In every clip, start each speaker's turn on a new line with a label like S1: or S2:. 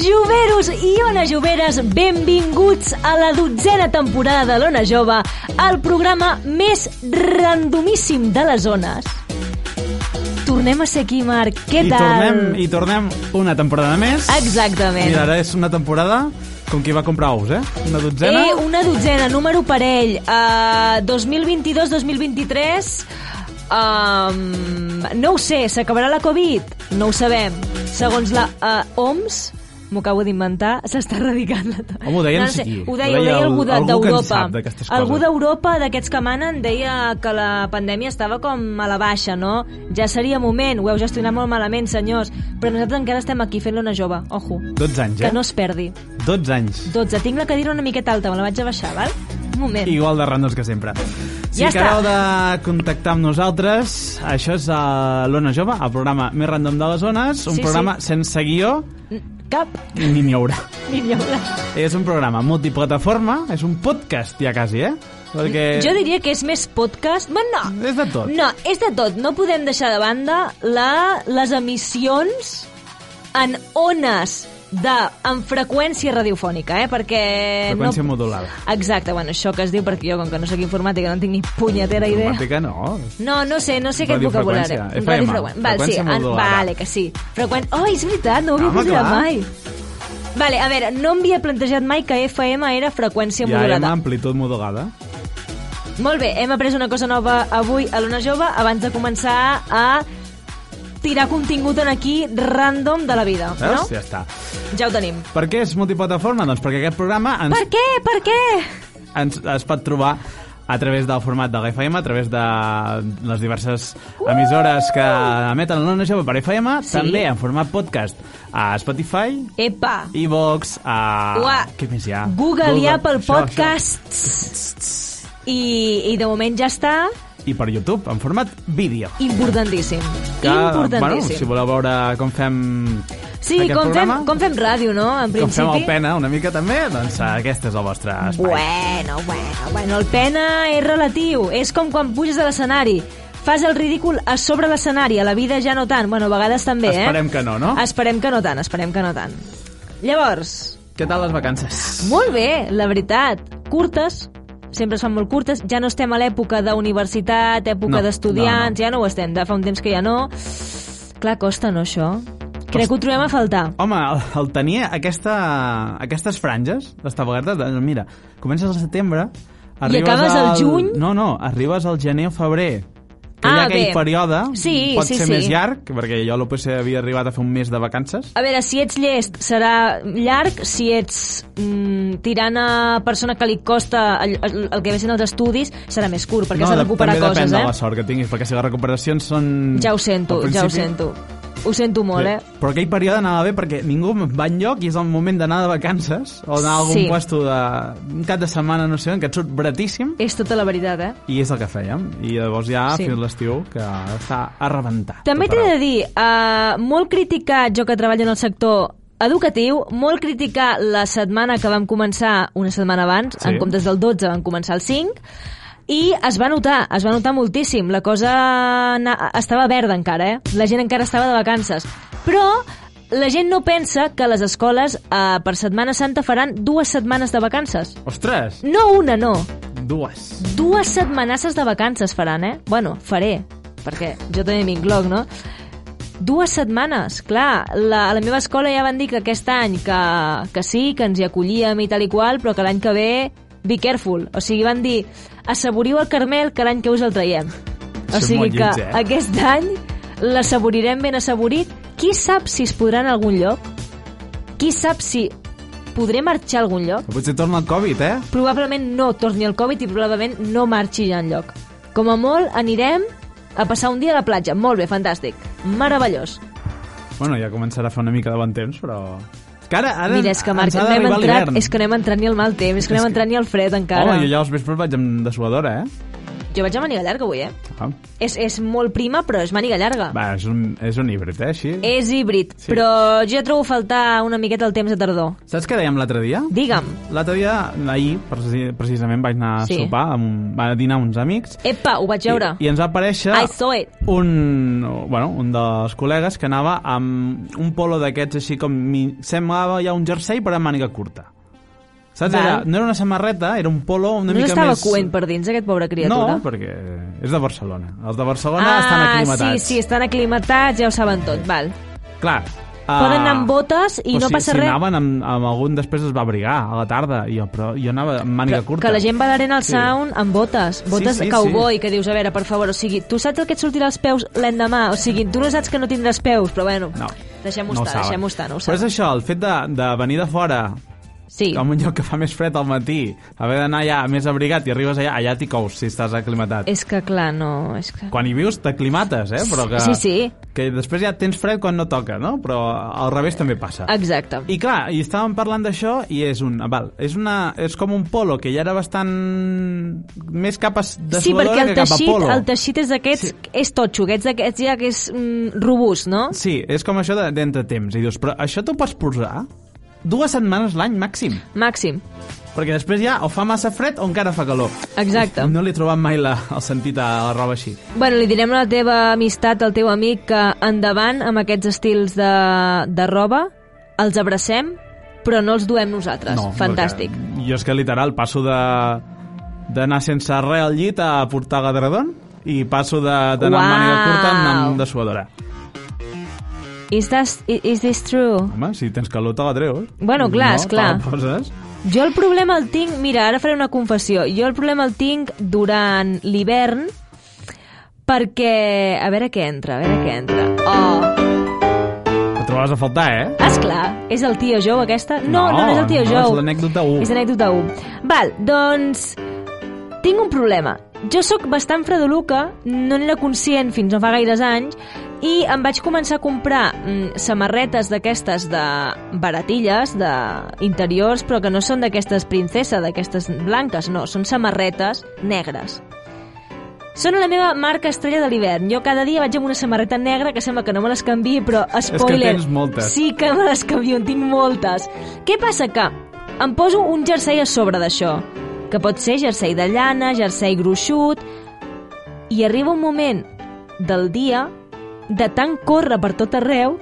S1: Joveros i Ona Joveres, benvinguts a la dotzena temporada de l'Ona Jove, el programa més randomíssim de les zones. Tornem a ser aquí, Marc. Què
S2: I
S1: tal?
S2: tornem, I tornem una temporada més.
S1: Exactament.
S2: Mira, ara és una temporada com qui va comprar ous, eh? Una dotzena.
S1: Eh, una dotzena, número parell. Uh, 2022-2023... Um, no ho sé, s'acabarà la Covid? No ho sabem. Segons la uh, OMS, m'ho acabo d'inventar, s'està erradicant la...
S2: Home, ho deia no
S1: ho sé,
S2: sé qui.
S1: Ho deia, ho deia
S2: el-
S1: algú de-
S2: algú que en
S1: d'Europa.
S2: sap d'aquestes
S1: Algú
S2: coses.
S1: d'Europa, d'aquests que manen, deia que la pandèmia estava com a la baixa, no? Ja seria moment, ho heu gestionat molt malament, senyors. Però nosaltres encara estem aquí fent-la una jove, ojo.
S2: 12 anys, eh?
S1: Que no es perdi.
S2: 12 anys.
S1: 12. Tinc la cadira una miqueta alta, me la vaig a baixar, val? Un moment.
S2: Igual de randos que sempre. Si
S1: Ja
S2: acabeu de contactar amb nosaltres, això és a l'Ona Jove, el programa més random de les zones, un
S1: Sí, sí.
S2: programa sense guió
S1: Cap
S2: i ni n'hi haurà.
S1: millora.
S2: És un programa multiplataforma, és un podcast ja quasi, eh? Perquè
S1: Jo diria que és més podcast... Ma, no.
S2: és de tot.
S1: No, és de tot. No podem deixar de banda la, les emissions en ones de, en freqüència radiofònica, eh? Perquè...
S2: Freqüència
S1: no...
S2: modulada.
S1: Exacte, bueno, això que es diu, perquè jo, com que no sóc informàtica, no tinc ni punyetera idea.
S2: Informàtica no.
S1: No, no sé, no sé aquest vocabulari.
S2: Radiofreqüència, FM,
S1: Radiofreqüència. Val, sí,
S2: freqüència
S1: en,
S2: modulada.
S1: vale, que sí. Freqüent... Oh, és veritat, no ho havia
S2: Home,
S1: considerat
S2: clar.
S1: mai. Vale, a veure, no m'havia plantejat mai que FM era freqüència
S2: Ja hi ha
S1: modulada.
S2: amplitud modulada.
S1: Molt bé, hem après una cosa nova avui a l'Ona Jove abans de començar a tirar contingut en aquí random de la vida,
S2: Veus?
S1: no?
S2: Ja està.
S1: Ja ho tenim.
S2: Per què és multiplataforma? Doncs perquè aquest programa ens,
S1: Per què? Per què?
S2: ens es pot trobar a través del format de l'FM, a través de les diverses emissores que emeten l'Ona Jove per FM,
S1: Uh! Sí.
S2: també en format podcast a Spotify,
S1: Epa,
S2: iVox, a...
S1: Ua.
S2: Què més hi ha?
S1: Google i Apple
S2: això, això.
S1: Podcasts. I, I de moment ja està
S2: I per YouTube, en format vídeo.
S1: importantíssim.
S2: Que, Bueno,
S1: importantíssim.
S2: si voleu veure com fem
S1: Sí,
S2: aquest
S1: com fem,
S2: programa,
S1: com fem ràdio, no? En
S2: com
S1: principi.
S2: fem el pena una mica també, doncs eh, aquest és el vostre espai.
S1: Bueno, bueno, bueno, el pena és relatiu. És com quan puges a l'escenari. Fas el ridícul a sobre l'escenari, a la vida ja no tant. Bueno, a vegades també, eh?
S2: Esperem que no, no?
S1: Esperem que no tant, esperem que no tant. Llavors,
S2: Què tal les vacances?
S1: molt bé, la veritat. Curtes, sempre es fan molt curtes. Ja no estem a l'època d'universitat, època
S2: No,
S1: d'estudiants,
S2: no, no.
S1: ja no ho estem, de fa un temps que ja no. Clar, costa, no, això? Crec que ho trobem a faltar.
S2: Home, el, el tenia aquesta, aquestes franges d'establertes. de- Mira, comences al setembre...
S1: acabes al
S2: al-
S1: juny?
S2: No, no, arribes al gener o febrer. Que
S1: Ah,
S2: hi ha aquell
S1: bé.
S2: període,
S1: Sí,
S2: pot
S1: sí,
S2: ser
S1: sí.
S2: més llarg, perquè jo a l'OPC havia arribat a fer un mes de vacances.
S1: A veure, si ets llest serà llarg, si ets mm, tirant a persona que li costa el, el, el que veixen els estudis serà més curt, perquè s'ha de
S2: de-
S1: recuperar
S2: també
S1: coses,
S2: depèn de
S1: eh?
S2: la sort que tinguis, perquè si les recuperacions són...
S1: Ja ho sento,
S2: al
S1: ja ho
S2: principi-
S1: sento. Ho sento molt,
S2: Sí.
S1: eh?
S2: Però aquell període anava bé perquè ningú va enlloc i és el moment d'anar de vacances o anar a algun
S1: Sí.
S2: puesto de... un cap de setmana, no sé on, que et surt bratíssim
S1: És tota la veritat, eh?
S2: I és el que fèiem. I llavors ja,
S1: Sí.
S2: sí. fins l'estiu, que està a rebentar.
S1: També t'he de dir, eh, molt criticat jo que treballo en el sector educatiu, molt criticar la setmana que vam començar una setmana abans,
S2: Sí.
S1: en comptes del 12 van començar el 5, i es va notar, es va notar moltíssim. La cosa na- estava verda encara, eh? La gent encara estava de vacances. Però la gent no pensa que les escoles eh, per Setmana Santa faran dues setmanes de vacances.
S2: Ostres,
S1: No una, no.
S2: dues.
S1: Dues setmanasses de vacances faran, eh? Bueno, faré, perquè jo també m'incloc, no? Dues setmanes, clar. La, a la meva escola ja van dir que aquest any que, que sí, que ens hi acollíem i tal i qual, però que l'any que ve, be careful. O sigui, van dir, assaboriu el Carmel que l'any que us el traiem.
S2: Això
S1: O
S2: és
S1: sigui
S2: molt
S1: que
S2: lleig, eh?
S1: aquest any l'assaborirem ben assaborit. Qui sap si es podrà en algun lloc? Qui sap si podré marxar a algun lloc?
S2: Però potser torna el Covid, eh?
S1: probablement no torni el Covid i probablement no marxi ja enlloc. Com a molt, anirem a passar un dia a la platja. Molt bé, fantàstic. Meravellós.
S2: Bueno, ja començarà a fer una mica de bon temps, però... Que ara, ara
S1: Mira, és que, Marc,
S2: ens ha
S1: no hem
S2: d'arribar
S1: entrat,
S2: l'hivern. Oh,
S1: és que no hem entrat ni al mal temps, és que no hem entrat ni al fred encara.
S2: Home, jo ja als vespres vaig amb dessuadora, eh?
S1: jo... jo vaig amb màniga llarga avui, eh?
S2: pam.
S1: És, és molt prima, però és màniga llarga.
S2: Va, és un, és un híbrid, eh, així.
S1: És híbrid,
S2: Sí.
S1: sí. però jo trobo a faltar una miqueta el temps de tardor.
S2: Saps què dèiem l'altre dia?
S1: Digue'm.
S2: L'altre dia, ahir, preci- precisament, vaig anar a
S1: Sí.
S2: sopar, amb, un- va dinar uns amics,
S1: Epa, ho vaig veure.
S2: I, I ens va aparèixer
S1: I saw it.
S2: un, bueno, un dels col·legues que anava amb un polo d'aquests així com... Mi, semblava ja un jersei però amb màniga curta. Saps?
S1: Val.
S2: Era, no era una samarreta, era un polo una
S1: no
S2: mica
S1: s'estava
S2: més...
S1: coent per dins, aquest pobre criatura?
S2: No, perquè és de Barcelona. Els de Barcelona estan
S1: ah,
S2: aclimatats.
S1: sí, sí, estan aclimatats, ja ho saben tot, val.
S2: Clar.
S1: Poden anar amb botes i
S2: Ah. però
S1: no
S2: si,
S1: passa
S2: si
S1: res.
S2: anaven amb, amb algun després es va abrigar a la tarda, i jo, però jo anava amb màniga curta.
S1: Que la gent va d'arena al
S2: Sí.
S1: sound amb botes, botes
S2: sí,
S1: de cowboy, que dius, a veure, per favor, o sigui, tu saps el que et sortirà als peus l'endemà, o sigui, tu no saps que no tindràs peus, però bueno,
S2: No.
S1: deixem-ho
S2: no ho
S1: estar,
S2: saben.
S1: deixem-ho estar, no ho
S2: Però és
S1: saben.
S2: això, el fet de, de venir de fora
S1: Sí,
S2: com un lloc que fa més fred al matí, haver d'anar allà més abrigat i arribes allà, allà t'hi cous si estàs aclimatat.
S1: és que clar, no, és que...
S2: Quan hi vius t'aclimates, eh? Però que,
S1: Sí, sí.
S2: Que després ja tens fred quan no toca, no? Però al revés també passa.
S1: Exacte.
S2: I clar, i estàvem parlant d'això i és un... ah, Val, és, una, és com un polo que ja era bastant... Més cap a s- de
S1: Sí, perquè el
S2: que cap a
S1: teixit,
S2: polo.
S1: el teixit és d'aquests, sí. és totxo, aquests d'aquests ja que és mm, robust, no?
S2: Sí, és com això de- d'entretemps. I dius, però això t'ho pots posar dues setmanes l'any màxim.
S1: Màxim,
S2: Perquè després ja o fa massa fred o encara fa calor.
S1: exacte.
S2: No li he trobat mai la, el sentit a la roba així.
S1: Bueno, li direm a la teva amistat, al teu amic, que endavant amb aquests estils de, de roba, els abracem, però no els duem nosaltres. Doncs Fantàstic.
S2: Perquè, jo és que literal passo de d'anar sense res al llit a portar gadradon i passo de- d'anar amb màniga
S1: Uau.
S2: curta a anar amb dessuadora.
S1: Is, that, is this true?
S2: Home, si tens calor te la treus.
S1: Bueno, clar,
S2: no,
S1: esclar.
S2: Te la poses.
S1: Jo el problema el tinc... Mira, ara faré una confessió. Jo el problema el tinc durant l'hivern perquè... A veure què entra, a veure què entra. Oh,
S2: Te trobes a faltar, eh?
S1: esclar, Ah, és el tio Jou aquesta? No, no, no, és el tio
S2: no,
S1: Jou.
S2: és l'anècdota u.
S1: És anècdota 1. Val, doncs... Tinc un problema. Jo sóc bastant fredoluca, no n'era conscient fins no fa gaires anys, i em vaig començar a comprar mm, samarretes d'aquestes de baratilles, d'interiors, però que no són d'aquestes princesa, d'aquestes blanques, no, són samarretes negres. Són la meva marca estrella de l'hivern. Jo cada dia vaig amb una samarreta negra que sembla que no me les canvi, però spoiler.
S2: tens moltes.
S1: Sí que me les canvio, en tinc moltes. Què passa que em poso un jersei a sobre d'això, que pot ser jersei de llana, jersei gruixut, i arriba un moment del dia de tant córrer per tot arreu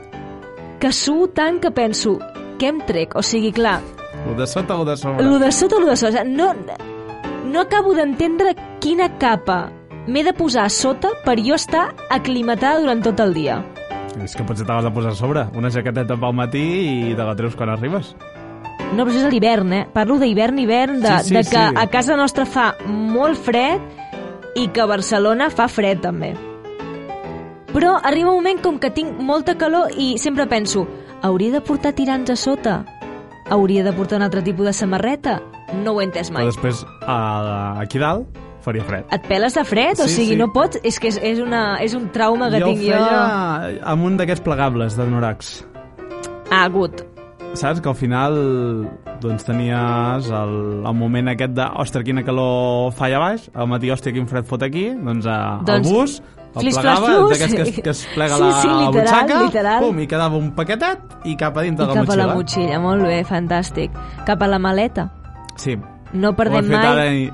S1: que suo tant que penso què em trec? O sigui, clar,
S2: Lo de sota o de sobre.
S1: lo de sota, lo de sota. O sigui, no, no acabo d'entendre quina capa m'he de posar a sota per jo estar aclimatada durant tot el dia.
S2: És que potser te l'has de posar a sobre. Una jaqueteta pel matí i te la treus quan arribes.
S1: No, però això és a l'hivern, eh? Parlo d'hivern, hivern, de,
S2: Sí, sí,
S1: de que
S2: sí.
S1: a casa nostra fa molt fred i que a Barcelona fa fred, també. Però arriba un moment com que tinc molta calor i sempre penso hauria de portar tirants a sota? Hauria de portar un altre tipus de samarreta? No ho he entès
S2: Però
S1: mai.
S2: després, a, aquí dalt, faria fred.
S1: Et peles de fred? o
S2: Sí,
S1: sigui,
S2: sí.
S1: no pots? És que és, és, una, és un trauma que
S2: jo ho
S1: tinc
S2: feia amb un d'aquests plegables de Norax.
S1: jo. Ah, gut.
S2: Saps que al final doncs tenies el, el moment aquest de ostres, quina calor fa allà baix, al matí, hòstia, quin fred fot aquí, doncs, a,
S1: Doncs,
S2: el bus, el
S1: flis,
S2: plegava,
S1: flas, flus.
S2: d'aquests que, es- que es plega
S1: Sí,
S2: la,
S1: sí,
S2: la
S1: literal,
S2: butxaca,
S1: literal.
S2: pum, i quedava un paquetet i cap a dintre
S1: I
S2: de la
S1: cap a
S2: motxilla.
S1: la motxilla, molt bé, fantàstic. Cap a la maleta.
S2: Sí,
S1: No
S2: ho he
S1: perdem
S2: fet
S1: mai...
S2: ara i...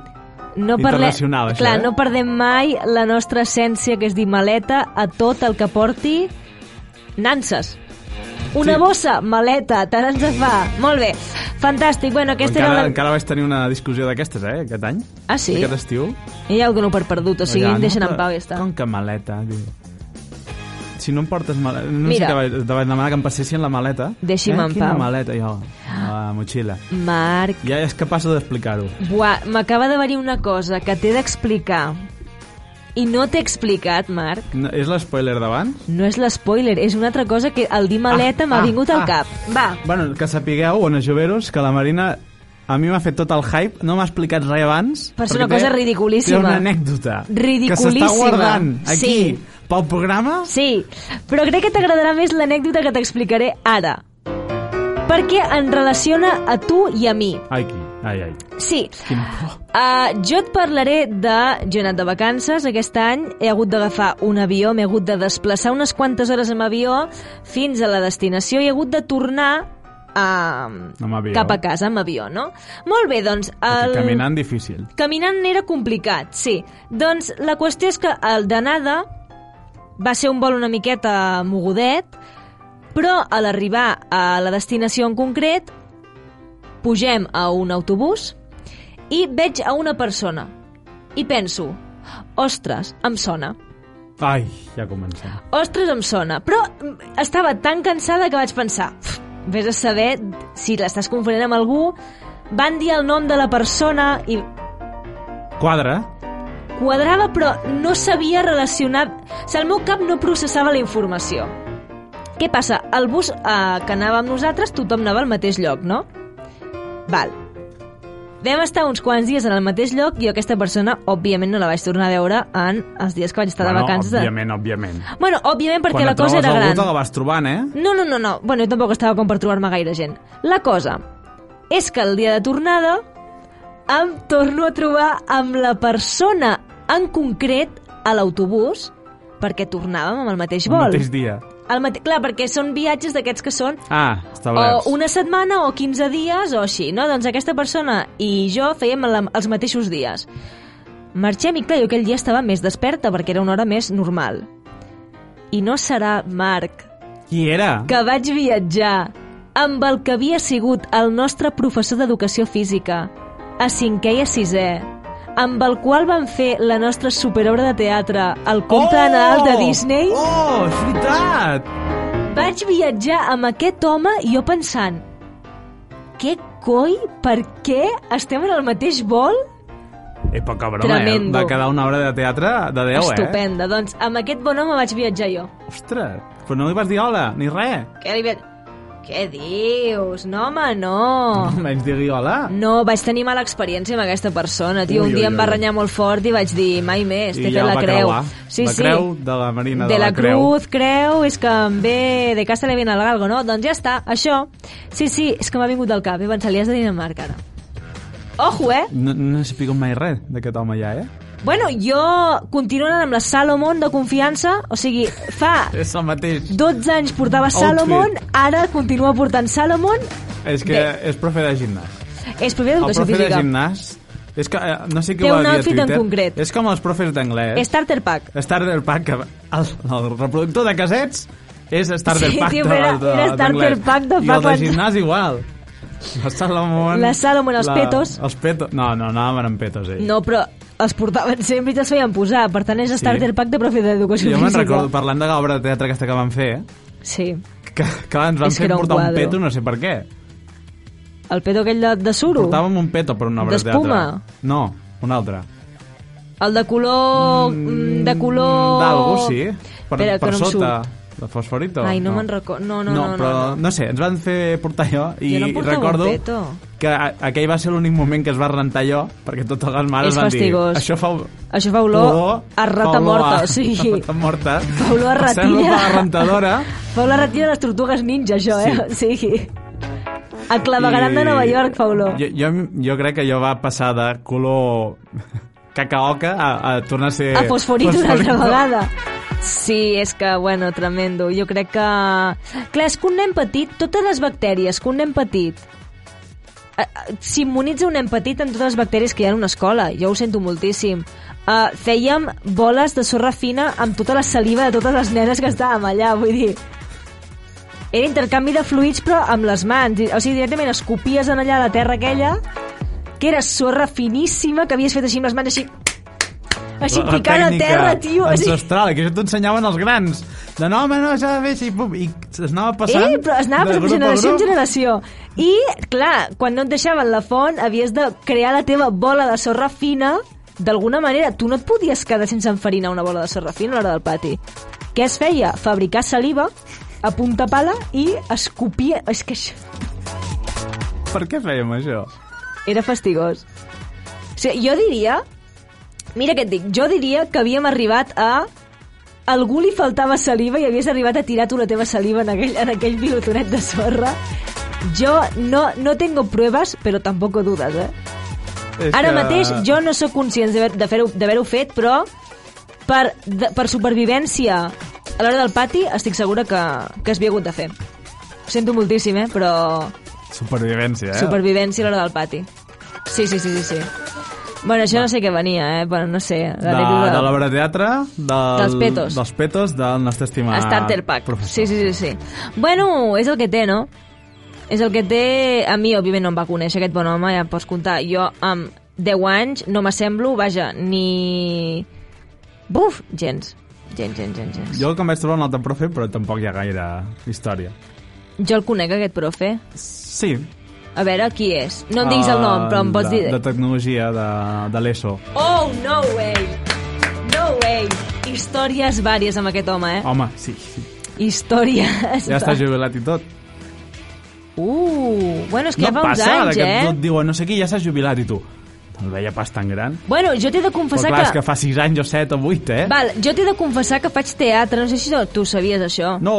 S1: no
S2: Internacional, això,
S1: clar,
S2: eh?
S1: no perdem mai la nostra essència, que és dir maleta a tot el que porti nanses. Una
S2: Sí.
S1: bossa, maleta, tant ens en fa. Molt bé, fantàstic. Bueno, aquesta
S2: Encara,
S1: era la...
S2: encara vaig tenir una discussió d'aquestes, eh, aquest any.
S1: Ah, sí?
S2: Aquest estiu.
S1: Ja ho dono per perdut, o sigui,
S2: Ja,
S1: em deixen
S2: no?
S1: en pau i ja està.
S2: Com que maleta, diu. Si no em portes maleta... No
S1: Mira.
S2: sé què vaig, te vaig demanar que em passessin la maleta.
S1: Deixi'm
S2: eh?
S1: en
S2: Quina
S1: pau. Ah.
S2: maleta, jo? La motxilla.
S1: Marc,
S2: Ja és que passo d'explicar-ho.
S1: buà, m'acaba de venir una cosa que t'he d'explicar. I no t'he explicat, Marc.
S2: No, és l'espoiler d'abans?
S1: No és l'espoiler, és una altra cosa que al dir maleta m'ha
S2: ah,
S1: vingut al
S2: ah.
S1: cap. Va,
S2: Bueno, que sapigueu, Ona Joveros, que la Marina a mi m'ha fet tot el hype, no m'ha explicat res abans.
S1: Però és
S2: perquè
S1: una cosa
S2: té-
S1: ridiculíssima.
S2: Té una anècdota. Que s'està
S1: Ridiculíssima.
S2: guardant aquí
S1: Sí.
S2: pel programa.
S1: Sí, però crec que t'agradarà més l'anècdota que t'explicaré ara. Perquè en relaciona a tu i a mi.
S2: Aquí. Ai, ai.
S1: Sí. Uh, jo et parlaré de... Jo he anat de vacances aquest any, he hagut d'agafar un avió, m'he hagut de desplaçar unes quantes hores amb avió fins a la destinació i he hagut de tornar a...
S2: Amb avió.
S1: cap a casa amb avió, no? Molt bé, doncs... El...
S2: Caminant difícil.
S1: Caminant era complicat, sí. Doncs la qüestió és que el d'anada va ser un vol una miqueta mogudet, però a l'arribar a la destinació en concret pugem a un autobús i veig a una persona i penso, ostres, em sona.
S2: Ai, ja comencem.
S1: Ostres, em sona. Però mm, estava tan cansada que vaig pensar... "Uf, Vés a saber si l'estàs confonent amb algú. Van dir el nom de la persona i
S2: Quadra.
S1: quadrava, però no sabia relacionar... O sigui, el meu cap no processava la informació. Què passa? El bus eh, que anava amb nosaltres, tothom anava al mateix lloc, no? Val. Vam estar uns quants dies en el mateix lloc i jo aquesta persona, òbviament, no la vaig tornar a veure en els dies que vaig estar de vacances.
S2: Òbviament, òbviament.
S1: Bueno, òbviament, perquè
S2: Quan
S1: la
S2: et
S1: cosa
S2: trobes
S1: era
S2: algú,
S1: gran.
S2: te la vas trobant, eh?
S1: No, no, no, no. Bueno, jo tampoc estava com per trobar-me gaire gent. La cosa és que el dia de tornada em torno a trobar amb la persona en concret a l'autobús perquè tornàvem amb el mateix vol.
S2: El mateix dia.
S1: El mate... Clar, perquè són viatges d'aquests que són
S2: Ah, establerts.
S1: o una setmana o 15 dies o així, no? Doncs aquesta persona i jo fèiem la, els mateixos dies. Marxem i clar, jo aquell dia estava més desperta perquè era una hora més normal. I no serà Marc
S2: Qui era?
S1: que vaig viatjar amb el que havia sigut el nostre professor d'educació física, a cinquè i a sisè, amb el qual van fer la nostra superobra de teatre, el conte de Nadal de Disney,
S2: Oh, és veritat!
S1: vaig viatjar amb aquest home i jo pensant què coi? Per què? Estem en el mateix vol?
S2: Epa, cabrona,
S1: Tremendo.
S2: eh? Va quedar una obra de teatre de 10, eh?
S1: Estupenda. Doncs amb aquest bon home vaig viatjar jo.
S2: Ostres, però no li vas dir hola, ni res.
S1: Què, li... què dius? No, home, no. Mm,
S2: Menys dir-li hola.
S1: No, vaig tenir mala experiència amb aquesta persona, tio.
S2: Ui,
S1: un dia
S2: ui,
S1: em va
S2: ui.
S1: renyar molt fort i vaig dir, mai més, t'he
S2: I
S1: fet
S2: ja
S1: la
S2: va
S1: creu.
S2: creuar.
S1: Sí,
S2: la
S1: sí.
S2: creu de la Marina
S1: de,
S2: de,
S1: la,
S2: creu.
S1: Cruz, creu, és que em ve de casa le viene algo, no? Doncs ja està, això. Sí, sí, és que m'ha vingut del cap. He pensat, li has de Dinamarca, ara. Ojo, eh?
S2: No, no he sabut mai res d'aquest home ja, eh?
S1: Bueno, jo continuo anant amb la Salomon de confiança, o sigui, fa
S2: És el mateix.
S1: 12 anys portava
S2: Outfit.
S1: Salomon, ara continua portant Salomon.
S2: És que
S1: Bé.
S2: és profe de gimnàs.
S1: És profe
S2: El
S1: d'educació
S2: profe de
S1: física.
S2: gimnàs... És que, eh, no sé qui
S1: Té
S2: ho
S1: un
S2: va dir a
S1: outfit en
S2: Twitter.
S1: concret.
S2: És com els profes d'anglès.
S1: Starter pack.
S2: Starter Pack, que el, el reproductor de casets és Starter
S1: Sí,
S2: Pack
S1: tio,
S2: de,
S1: era-
S2: de,
S1: era Starter
S2: d'anglès.
S1: Pack de
S2: I
S1: fa
S2: el de
S1: quan-
S2: gimnàs igual. La Salomon...
S1: La Salomon, els petos.
S2: Els petos. No, no, anaven amb petos, eh. ell.
S1: No, però els portaven sempre i te'ls feien posar. Per tant, és
S2: Sí.
S1: starter pack de profe d'educació
S2: Jo
S1: física.
S2: me'n recordo, parlant de l'obra de teatre aquesta que van fer, eh,
S1: Sí.
S2: que, que ens van
S1: És que
S2: fer
S1: era un
S2: portar un,
S1: quadro.
S2: peto, no sé per què.
S1: El pedo aquell de, de suro.
S2: Portàvem un peto per una obra
S1: D'espuma?
S2: de teatre. No, un altre.
S1: El de color... Mm, de color...
S2: D'algú, sí. Per,
S1: Espera,
S2: per
S1: que no em
S2: sota.
S1: surt.
S2: De fosforito.
S1: Ai, no, me'n recordo. No, no, no. no,
S2: però
S1: no,
S2: no. sé, ens van fer portar jo i
S1: Jo no portava
S2: recordo
S1: un peto.
S2: que a- aquell va ser l'únic moment que es va rentar jo perquè totes les mares
S1: És
S2: van
S1: fastigós.
S2: dir això fa
S1: Això fa olor a rata
S2: fa olor
S1: morta, o
S2: a-
S1: sigui,
S2: a rata morta.
S1: fa olor a
S2: Passem-lo
S1: ratilla.
S2: per la rentadora
S1: Fa la retira de les tortugues ninja, això, eh? Sí. sí. A clavegaran
S2: i-
S1: de Nova York, Paulo.
S2: Jo, jo, jo crec que jo va passar de color cacaoca a, a tornar a ser...
S1: a fosforit una altra
S2: fosforito.
S1: vegada. Sí, és que, bueno, tremendo. Jo crec que... Clar, és que un nen petit, totes les bactèries que un nen petit eh, eh, s'immunitza un nen petit en totes les bacteris que hi ha en una escola. Jo ho sento moltíssim. Uh, fèiem boles de sorra fina amb tota la saliva de totes les nenes que estàvem allà, vull dir... Era intercanvi de fluids, però amb les mans. I- O sigui, directament escopies en allà la terra aquella, que era sorra finíssima, que havies fet així amb les mans, així... Així
S2: La- la
S1: picant a
S2: tècnica
S1: terra, tio. Així.
S2: Ancestral, que això t'ho ensenyaven els grans. De no, home, no, això ha de fer així, pum, i s'anava passant...
S1: Eh, però es anava passant
S2: de
S1: de
S2: grup a
S1: generació en
S2: grup.
S1: generació. I, clar, quan no et deixaven la font, havies de crear la teva bola de sorra fina d'alguna manera. Tu no et podies quedar sense enfarinar una bola de sorra fina a l'hora del pati. Què es feia? Fabricar saliva a punta pala i escopia... És que això
S2: Per què fèiem això?
S1: era fastigós. O sigui, jo diria... Mira què et dic, jo diria que havíem arribat a... Algú li faltava saliva i havies arribat a tirar tu la teva saliva en aquell, en aquell pilotonet de sorra Yo no, no tengo pruebas, però tampoc dudes, eh?
S2: És
S1: Ara
S2: que-
S1: mateix jo no sóc conscient d'haver- de fer-ho- d'haver-ho fet, però per, de, per supervivència a l'hora del pati estic segura que, que es havia hagut de fer. Ho sento moltíssim, eh? però
S2: Supervivència, eh?
S1: supervivència a l'hora del pati. Sí, sí, sí, sí, sí. Bueno, això no sé què venia, eh? Bueno, no sé.
S2: De, de l'obra de teatre, del,
S1: Dels Petos.
S2: dels petos del nostre estimat
S1: Starter Pack.
S2: professor.
S1: Sí, sí, sí, sí. Bueno, és el que té, no? És el que té... A mi, òbviament, no em va conèixer aquest bon home, ja em pots comptar. Jo, amb 10 anys, no m'assemblo, vaja, ni... Buf! Gens. Gens, gens, gens, gens. Jo,
S2: Jo que em vaig trobar un altre profe, però tampoc hi ha gaire història.
S1: jo el conec, aquest profe.
S2: Sí.
S1: A veure, qui és? No em diguis el nom, però em pots
S2: de,
S1: dir...
S2: De tecnologia, de, de l'ESO.
S1: Oh, no way! No way! Històries vàries amb aquest home, eh?
S2: Home, sí, sí.
S1: Històries...
S2: Oh. Ja està jubilat i tot.
S1: Uh, bueno, és que
S2: no
S1: ja fa uns
S2: passa ara
S1: anys,
S2: que
S1: eh?
S2: tot diuen, no sé qui, ja s'ha jubilat, i tu. El veia pas tan gran.
S1: Bueno, jo t'he de
S2: Però
S1: confessar
S2: clar, és que fa 6 anys o 7 o 8, eh?
S1: Val, jo t'he de confessar que faig teatre, no sé si tu ho sabies això.
S2: No,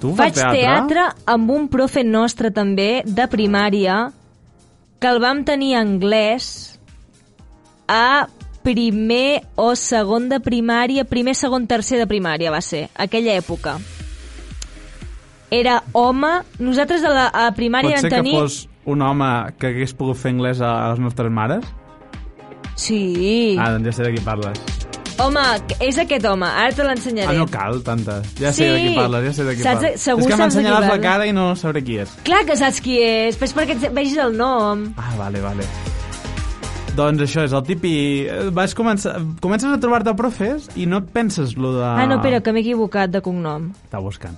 S2: tu
S1: faig
S2: fas
S1: teatre? amb un profe nostre també, de primària, que el vam tenir anglès a primer o segon de primària, primer, segon, tercer de primària va ser, aquella època. Era home, nosaltres a la a primària
S2: Pot ser
S1: vam tenir...
S2: que fos un home que hagués pogut fer anglès a a les nostres mares?
S1: Sí,
S2: Ah, doncs ja sé de qui parles.
S1: home, és aquest home, ara te
S2: Ah,
S1: l'ensenyaré.
S2: no cal tantes. Ja
S1: Sí.
S2: sé de qui parles, ja sé de qui
S1: Saps-
S2: parles.
S1: segur
S2: és que m'ha
S1: saps de qui
S2: ensenyat la
S1: parles.
S2: cara i no sabré qui és.
S1: Clar que saps qui és, però és perquè et vegis el nom.
S2: Ah, vale, vale. Doncs això és el tipi... eh, Vas començar... Comences a trobar-te profes i no et penses lo de...
S1: Ah, no, però que m'he equivocat de cognom.
S2: Està buscant.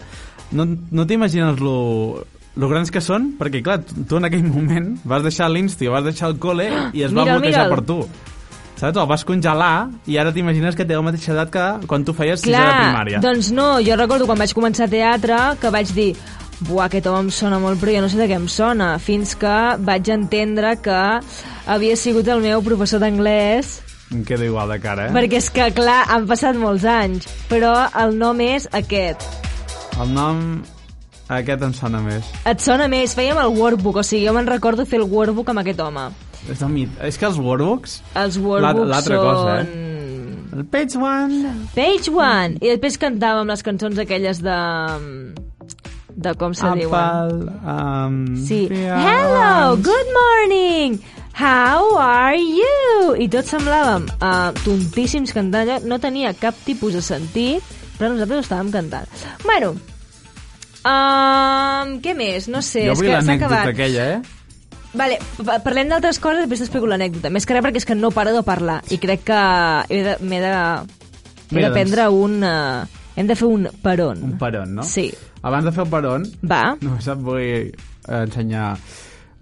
S2: No, no t'imagines lo, lo grans que són? Perquè, clar, tu tu en aquell moment vas deixar l'insti o vas deixar el col·le i es va
S1: Mira'l,
S2: bloquejar
S1: mira'l.
S2: per tu. Saps? El vas congelar i ara t'imagines que té la mateixa edat que quan tu feies sisè de primària.
S1: doncs no, jo recordo quan vaig començar teatre que vaig dir buah, aquest home em sona molt, però jo no sé de què em sona, fins que vaig entendre que havia sigut el meu professor d'anglès,
S2: Em queda igual de cara, eh?
S1: perquè és que, clar, han passat molts anys, però el nom és aquest.
S2: El nom... Aquest em sona més.
S1: Et sona més, fèiem el workbook, o sigui, jo me'n recordo fer el workbook amb aquest home.
S2: És, el mit... és que els Warbucks...
S1: Els workbooks
S2: l'altra
S1: són...
S2: cosa, eh? El page one...
S1: Page One! I després cantàvem les cançons aquelles de... de com se diuen.
S2: Apple... Um,
S1: Sí. Hello, good morning! How are you? I tots semblàvem uh, tontíssims cantant. allò No tenia cap tipus de sentit, però nosaltres ho estàvem cantant. Bueno, um, què més? No sé,
S2: Jo
S1: és
S2: vull
S1: que s'ha
S2: l'anècdota
S1: acabat.
S2: aquella, eh?
S1: Vale, pa- parlem d'altres coses, després t'explico l'anècdota. Més que res perquè és que no paro de parlar i crec que he de- m'he de, he
S2: Mira,
S1: de prendre un... eh, hem de fer un peron.
S2: doncs. Un peron, no?
S1: Sí.
S2: Abans de fer el peron,
S1: Va.
S2: només et vull eh, ensenyar...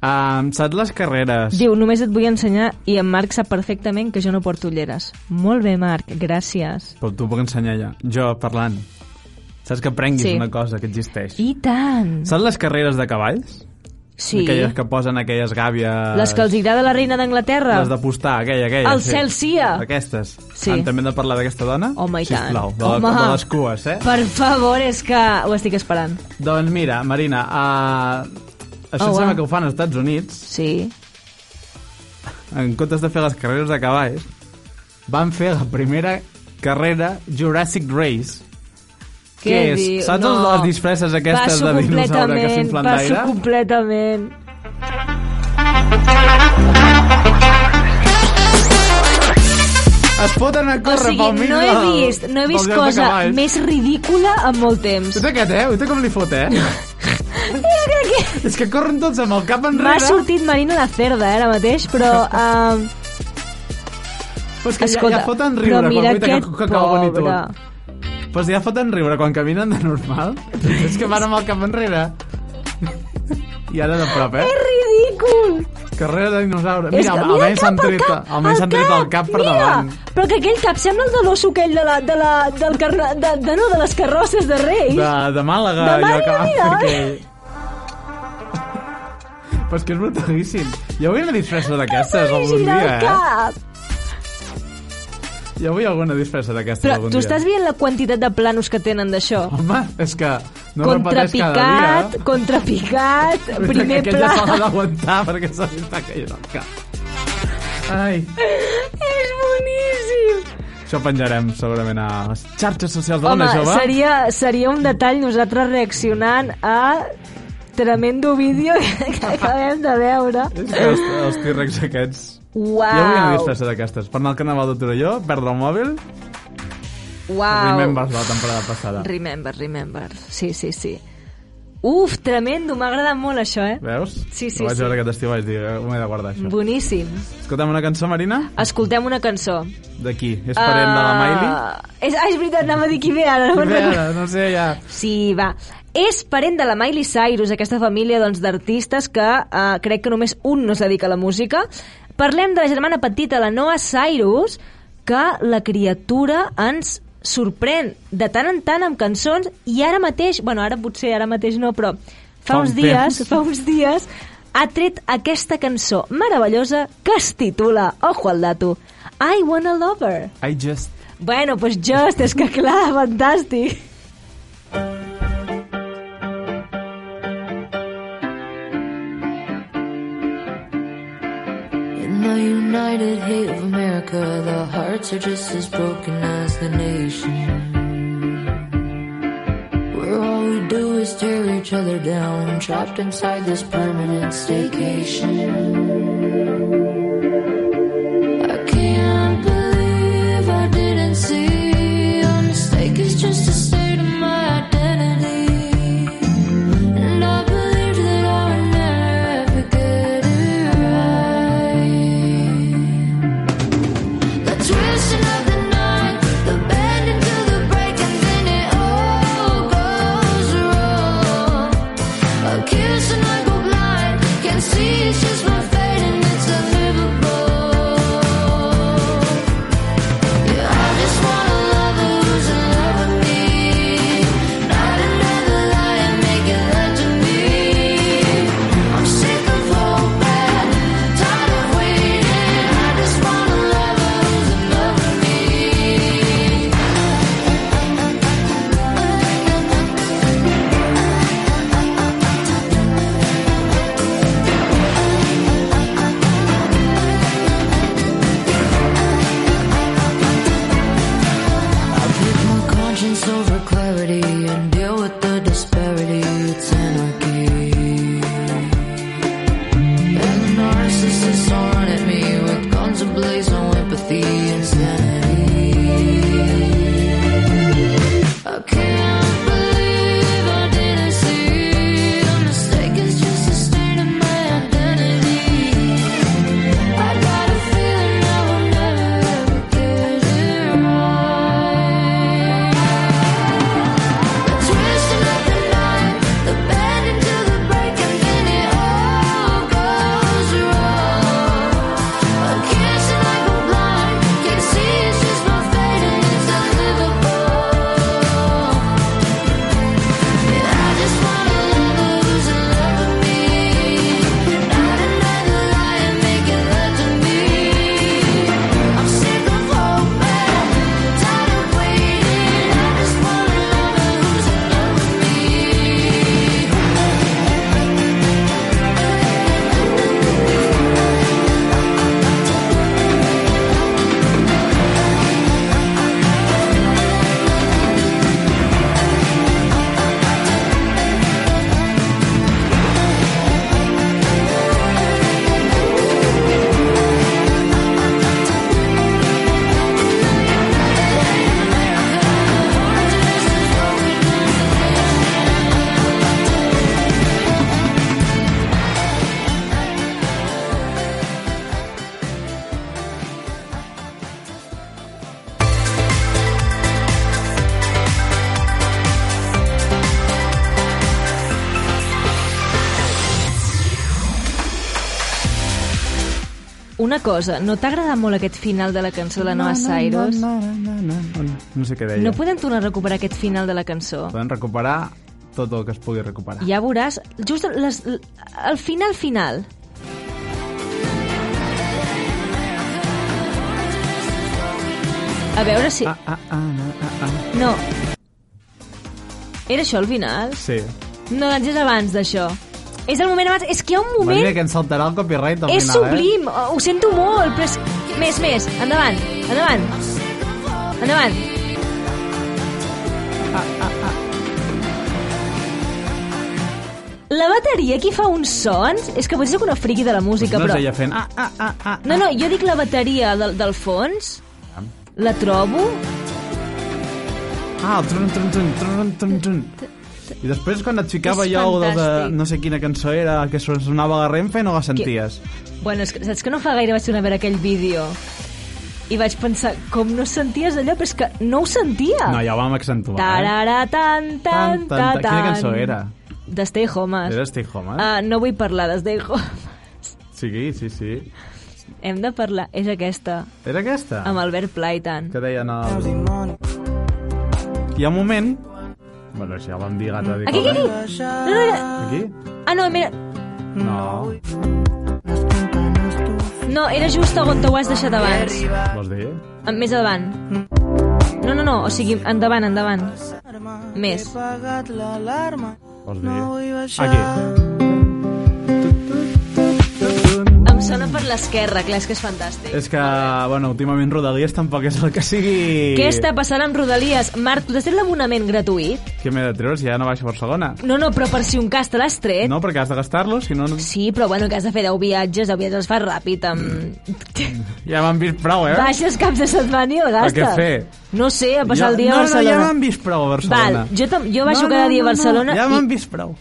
S2: Um, saps les carreres?
S1: Diu, només et vull ensenyar i en Marc sap perfectament que jo no porto ulleres. Molt bé, Marc, gràcies.
S2: Però t'ho puc ensenyar ja. Jo, parlant. Saps que aprenguis
S1: Sí.
S2: una cosa que existeix.
S1: I tant!
S2: Saps les carreres de cavalls?
S1: Sí.
S2: Aquelles que posen aquelles gàbies...
S1: Les que els agrada la reina d'Anglaterra.
S2: Les d'apostar, aquella, aquella.
S1: El cel sia.
S2: Aquestes.
S1: Sí.
S2: Ah, també hem de parlar d'aquesta dona?
S1: Home, i tant.
S2: Sisplau, de, la,
S1: Home.
S2: de les cues, eh?
S1: Per favor, és que ho estic esperant.
S2: Doncs mira, Marina, uh, això
S1: Oh,
S2: oh,
S1: wow.
S2: sembla que ho fan als Estats Units.
S1: Sí.
S2: En comptes de fer les carreres de cavalls, van fer la primera carrera Jurassic Race. Què
S1: Què
S2: és?
S1: diu?
S2: Saps
S1: no.
S2: les disfresses aquestes
S1: Passo
S2: de dinosaure que
S1: completament,
S2: s'inflen
S1: Passo
S2: d'aire?
S1: completament.
S2: Es foten a
S1: O
S2: córrer pel
S1: sigui,
S2: mig
S1: no he
S2: del-
S1: vist, no he
S2: del
S1: vist
S2: lloc de
S1: cosa
S2: cavalls.
S1: més ridícula en molt temps.
S2: Ho té aquest, eh? Ho té com li fot, eh?
S1: Jo crec que
S2: És que corren tots amb el cap enrere.
S1: m'ha sortit Marina la cerda, eh, ara mateix, però... Uh,
S2: Però és que
S1: escolta,
S2: ja, ja foten riure
S1: però
S2: quan
S1: mira
S2: mira que,
S1: aquest
S2: que, que cauen i
S1: pobre.
S2: tot. Però si ja foten riure quan caminen de normal. és que van amb el cap enrere. I ara de prop, eh?
S1: És ridícul!
S2: Carrera de dinosaure.
S1: És
S2: Mira,
S1: que,
S2: almenys s'han
S1: el cap, el
S2: tret,
S1: cap,
S2: almenys s'han tret el cap per
S1: mira,
S2: davant.
S1: Però que aquell cap sembla el de l'osso aquell de la, de la, del carro, de, de, no, de les carrosses de Reis.
S2: De, de Màlaga,
S1: De
S2: allò
S1: Màlaga,
S2: que van
S1: mira.
S2: fer aquell. Però és que és brutalíssim. Jo vull una disfressa d'aquestes algun
S1: Gira
S2: dia,
S1: el
S2: eh?
S1: cap.
S2: Jo vull alguna disfressa d'aquestes
S1: Però
S2: algun
S1: tu
S2: dia.
S1: estàs veient la quantitat de planos que tenen d'això?
S2: Home, és que No repeteix cada
S1: contrapicat,
S2: dia, eh?
S1: contrapicat, primer
S2: que
S1: pla...
S2: Aquella se l'ha d'aguantar perquè se li està caient al cap. Ai,
S1: És boníssim!
S2: això penjarem segurament a les xarxes socials de
S1: Home,
S2: l'Ona Jove.
S1: seria, seria un detall nosaltres reaccionant a tremendo vídeo que acabem de veure.
S2: És que els, els tírex aquests... Jo vull
S1: Uau!
S2: anar disfressat d'aquestes. Per anar al carnaval de Torelló, perdre el mòbil...
S1: Uau!
S2: Remembers de la temporada passada.
S1: Remember, remember. Sí, sí, sí. Uf, tremendo, m'ha agradat molt això, eh?
S2: Veus?
S1: Sí, sí,
S2: Ho vaig
S1: sí.
S2: veure aquest estiu, vaig dir, "Eh, m'ho he de guardar, això.
S1: Boníssim.
S2: Escolta'm una cançó, Marina,
S1: Escoltem una cançó.
S2: d'aquí. És parent de la Miley.
S1: És, ah, és veritat, anava a dir qui ve ara. No me'n
S2: Bé,
S1: recordo.
S2: ara, no sé, ja...
S1: Sí, va. És parent de la Miley Cyrus, aquesta família doncs, d'artistes que eh, crec que només un no es dedica a la música. Parlem de la germana petita, la Noah Cyrus, que la criatura ens sorprèn de tant en tant amb cançons i ara mateix, bueno, ara potser ara mateix no, però fa,
S2: Fa
S1: uns
S2: un
S1: dies,
S2: temps.
S1: fa uns dies, ha tret aquesta cançó meravellosa que es titula, ojo al dato, I Want a Lover.
S2: I just...
S1: Bueno, pues just, és que clar, fantàstic.
S3: In the United Hate of America, the hearts are just as broken as the nation. Where all we do is tear each other down, trapped inside this permanent staycation. I can't believe I didn't see a mistake is just a state of my identity. And I believed that I would never get it right. The twisting of the night, the bend until the break, and then it all goes wrong. A kiss and I go blind, can't see it's just my fate and it's unlivable. Yeah, I just want a lover who's in love with me. Not another liar making love to me. I'm sick of hoping, tired of waiting. I just want a lover who's in love with me. I pick my conscience over clarity and deal with the disparity. It's anarchy. And the narcissists all run at me with guns ablaze, no empathy, insanity. I can't believe I didn't see a mistake. It's just a state of my identity. I got a feeling I will never get it right. The twisting of the night, the bend until the break, and then it all goes wrong. A kiss and I go blind, can't see it's just my fate and it's unlivable. I just want a lover who's in love with me, not another liar making love to me. I'm sick of hoping, tired of waiting. I just want a lover who's in love with me.
S1: Una cosa, no t'ha agradat molt aquest final de la cançó de la Noa Cyrus? No, no,
S2: Na, na, na, na, na. No sé què deia. No
S1: podem tornar a recuperar aquest final de la cançó.
S2: Podem recuperar tot el que es pugui recuperar.
S1: Ja veuràs, just les, l- el final final. A veure si...
S2: Ah, ah, ah, ah, ah, ah.
S1: No. Era això el final?
S2: Sí.
S1: No, doncs és abans d'això. És el moment abans... És que hi ha un
S2: Vas dir
S1: moment...
S2: que ens saltarà el copyright al
S1: És
S2: final, eh?
S1: sublim, ho ho sento molt, però és... Més, més, endavant, endavant. Endavant. La bateria aquí fa uns sons... És que potser sóc una friqui de la música,
S2: No es
S1: però...
S2: deia fent... Ah, ah, ah, ah.
S1: No, no, jo dic la bateria del, del fons... La trobo...
S2: Ah, el trun, trun, trun, trun, trun, trun. I després quan et ficava
S1: És
S2: jo el de,
S1: fantàstic.
S2: no sé quina cançó era, que sonava a la Renfe, no la senties.
S1: Bueno, és que, saps que no fa gaire vaig tornar a veure aquell vídeo? I vaig pensar, com no senties allò? Però és que no ho sentia.
S2: No, ja ho vam accentuar. Eh?
S1: Ah. Tarara, tan, tan,
S2: Tan, tan,
S1: tan,
S2: tan. Quina cançó era?
S1: De Stay Homes.
S2: Era Stay Home, eh?
S1: Ah, no vull parlar de Stay Home.
S2: Sí, sí, sí.
S1: Hem de parlar, és aquesta,
S2: Era aquesta?
S1: amb Albert Plaitan.
S2: Ah. Que deien el... Hi ha un moment... Bueno, això ja ho vam dir l'altre dia.
S1: Aquí, aquí, aquí. No, no, era...
S2: Aquí?
S1: Ah, no, mira...
S2: No.
S1: No, era just a on t'ho has deixat abans.
S2: Vols dir?
S1: Ah, Més endavant. No, no, no, o sigui, endavant, endavant. Més.
S4: apagat l'alarma.
S2: Vols dir?
S4: vull baixar.
S2: Aquí.
S1: Em sona per l'esquerra, clar, és que és fantàstic.
S2: És que, bueno, últimament Rodalies tampoc és el que sigui...
S1: Què està passant amb Rodalies? Marc, tu t'has tret l'abonament gratuït?
S2: Què m'he de treure si ja no baixo a Barcelona?
S1: No, no, però per si un cas te l'has tret.
S2: No, perquè has de gastar-lo, si no... no-
S1: Sí, però bueno, que has de fer 10 viatges, 10 viatges els fas ràpid amb...
S2: Ja m'han vist prou, eh?
S1: Baixes caps de setmana i el gastes.
S2: Però Mm. què fer?
S1: No sé, a passar
S2: Ja-
S1: el dia a
S2: no,
S1: Barcelona.
S2: No, ja m'han vist prou a Barcelona.
S1: Val, jo, tam- jo baixo
S2: no,
S1: cada
S2: no,
S1: dia
S2: no,
S1: a Barcelona
S2: No, ja
S1: i
S2: m'han vist preu.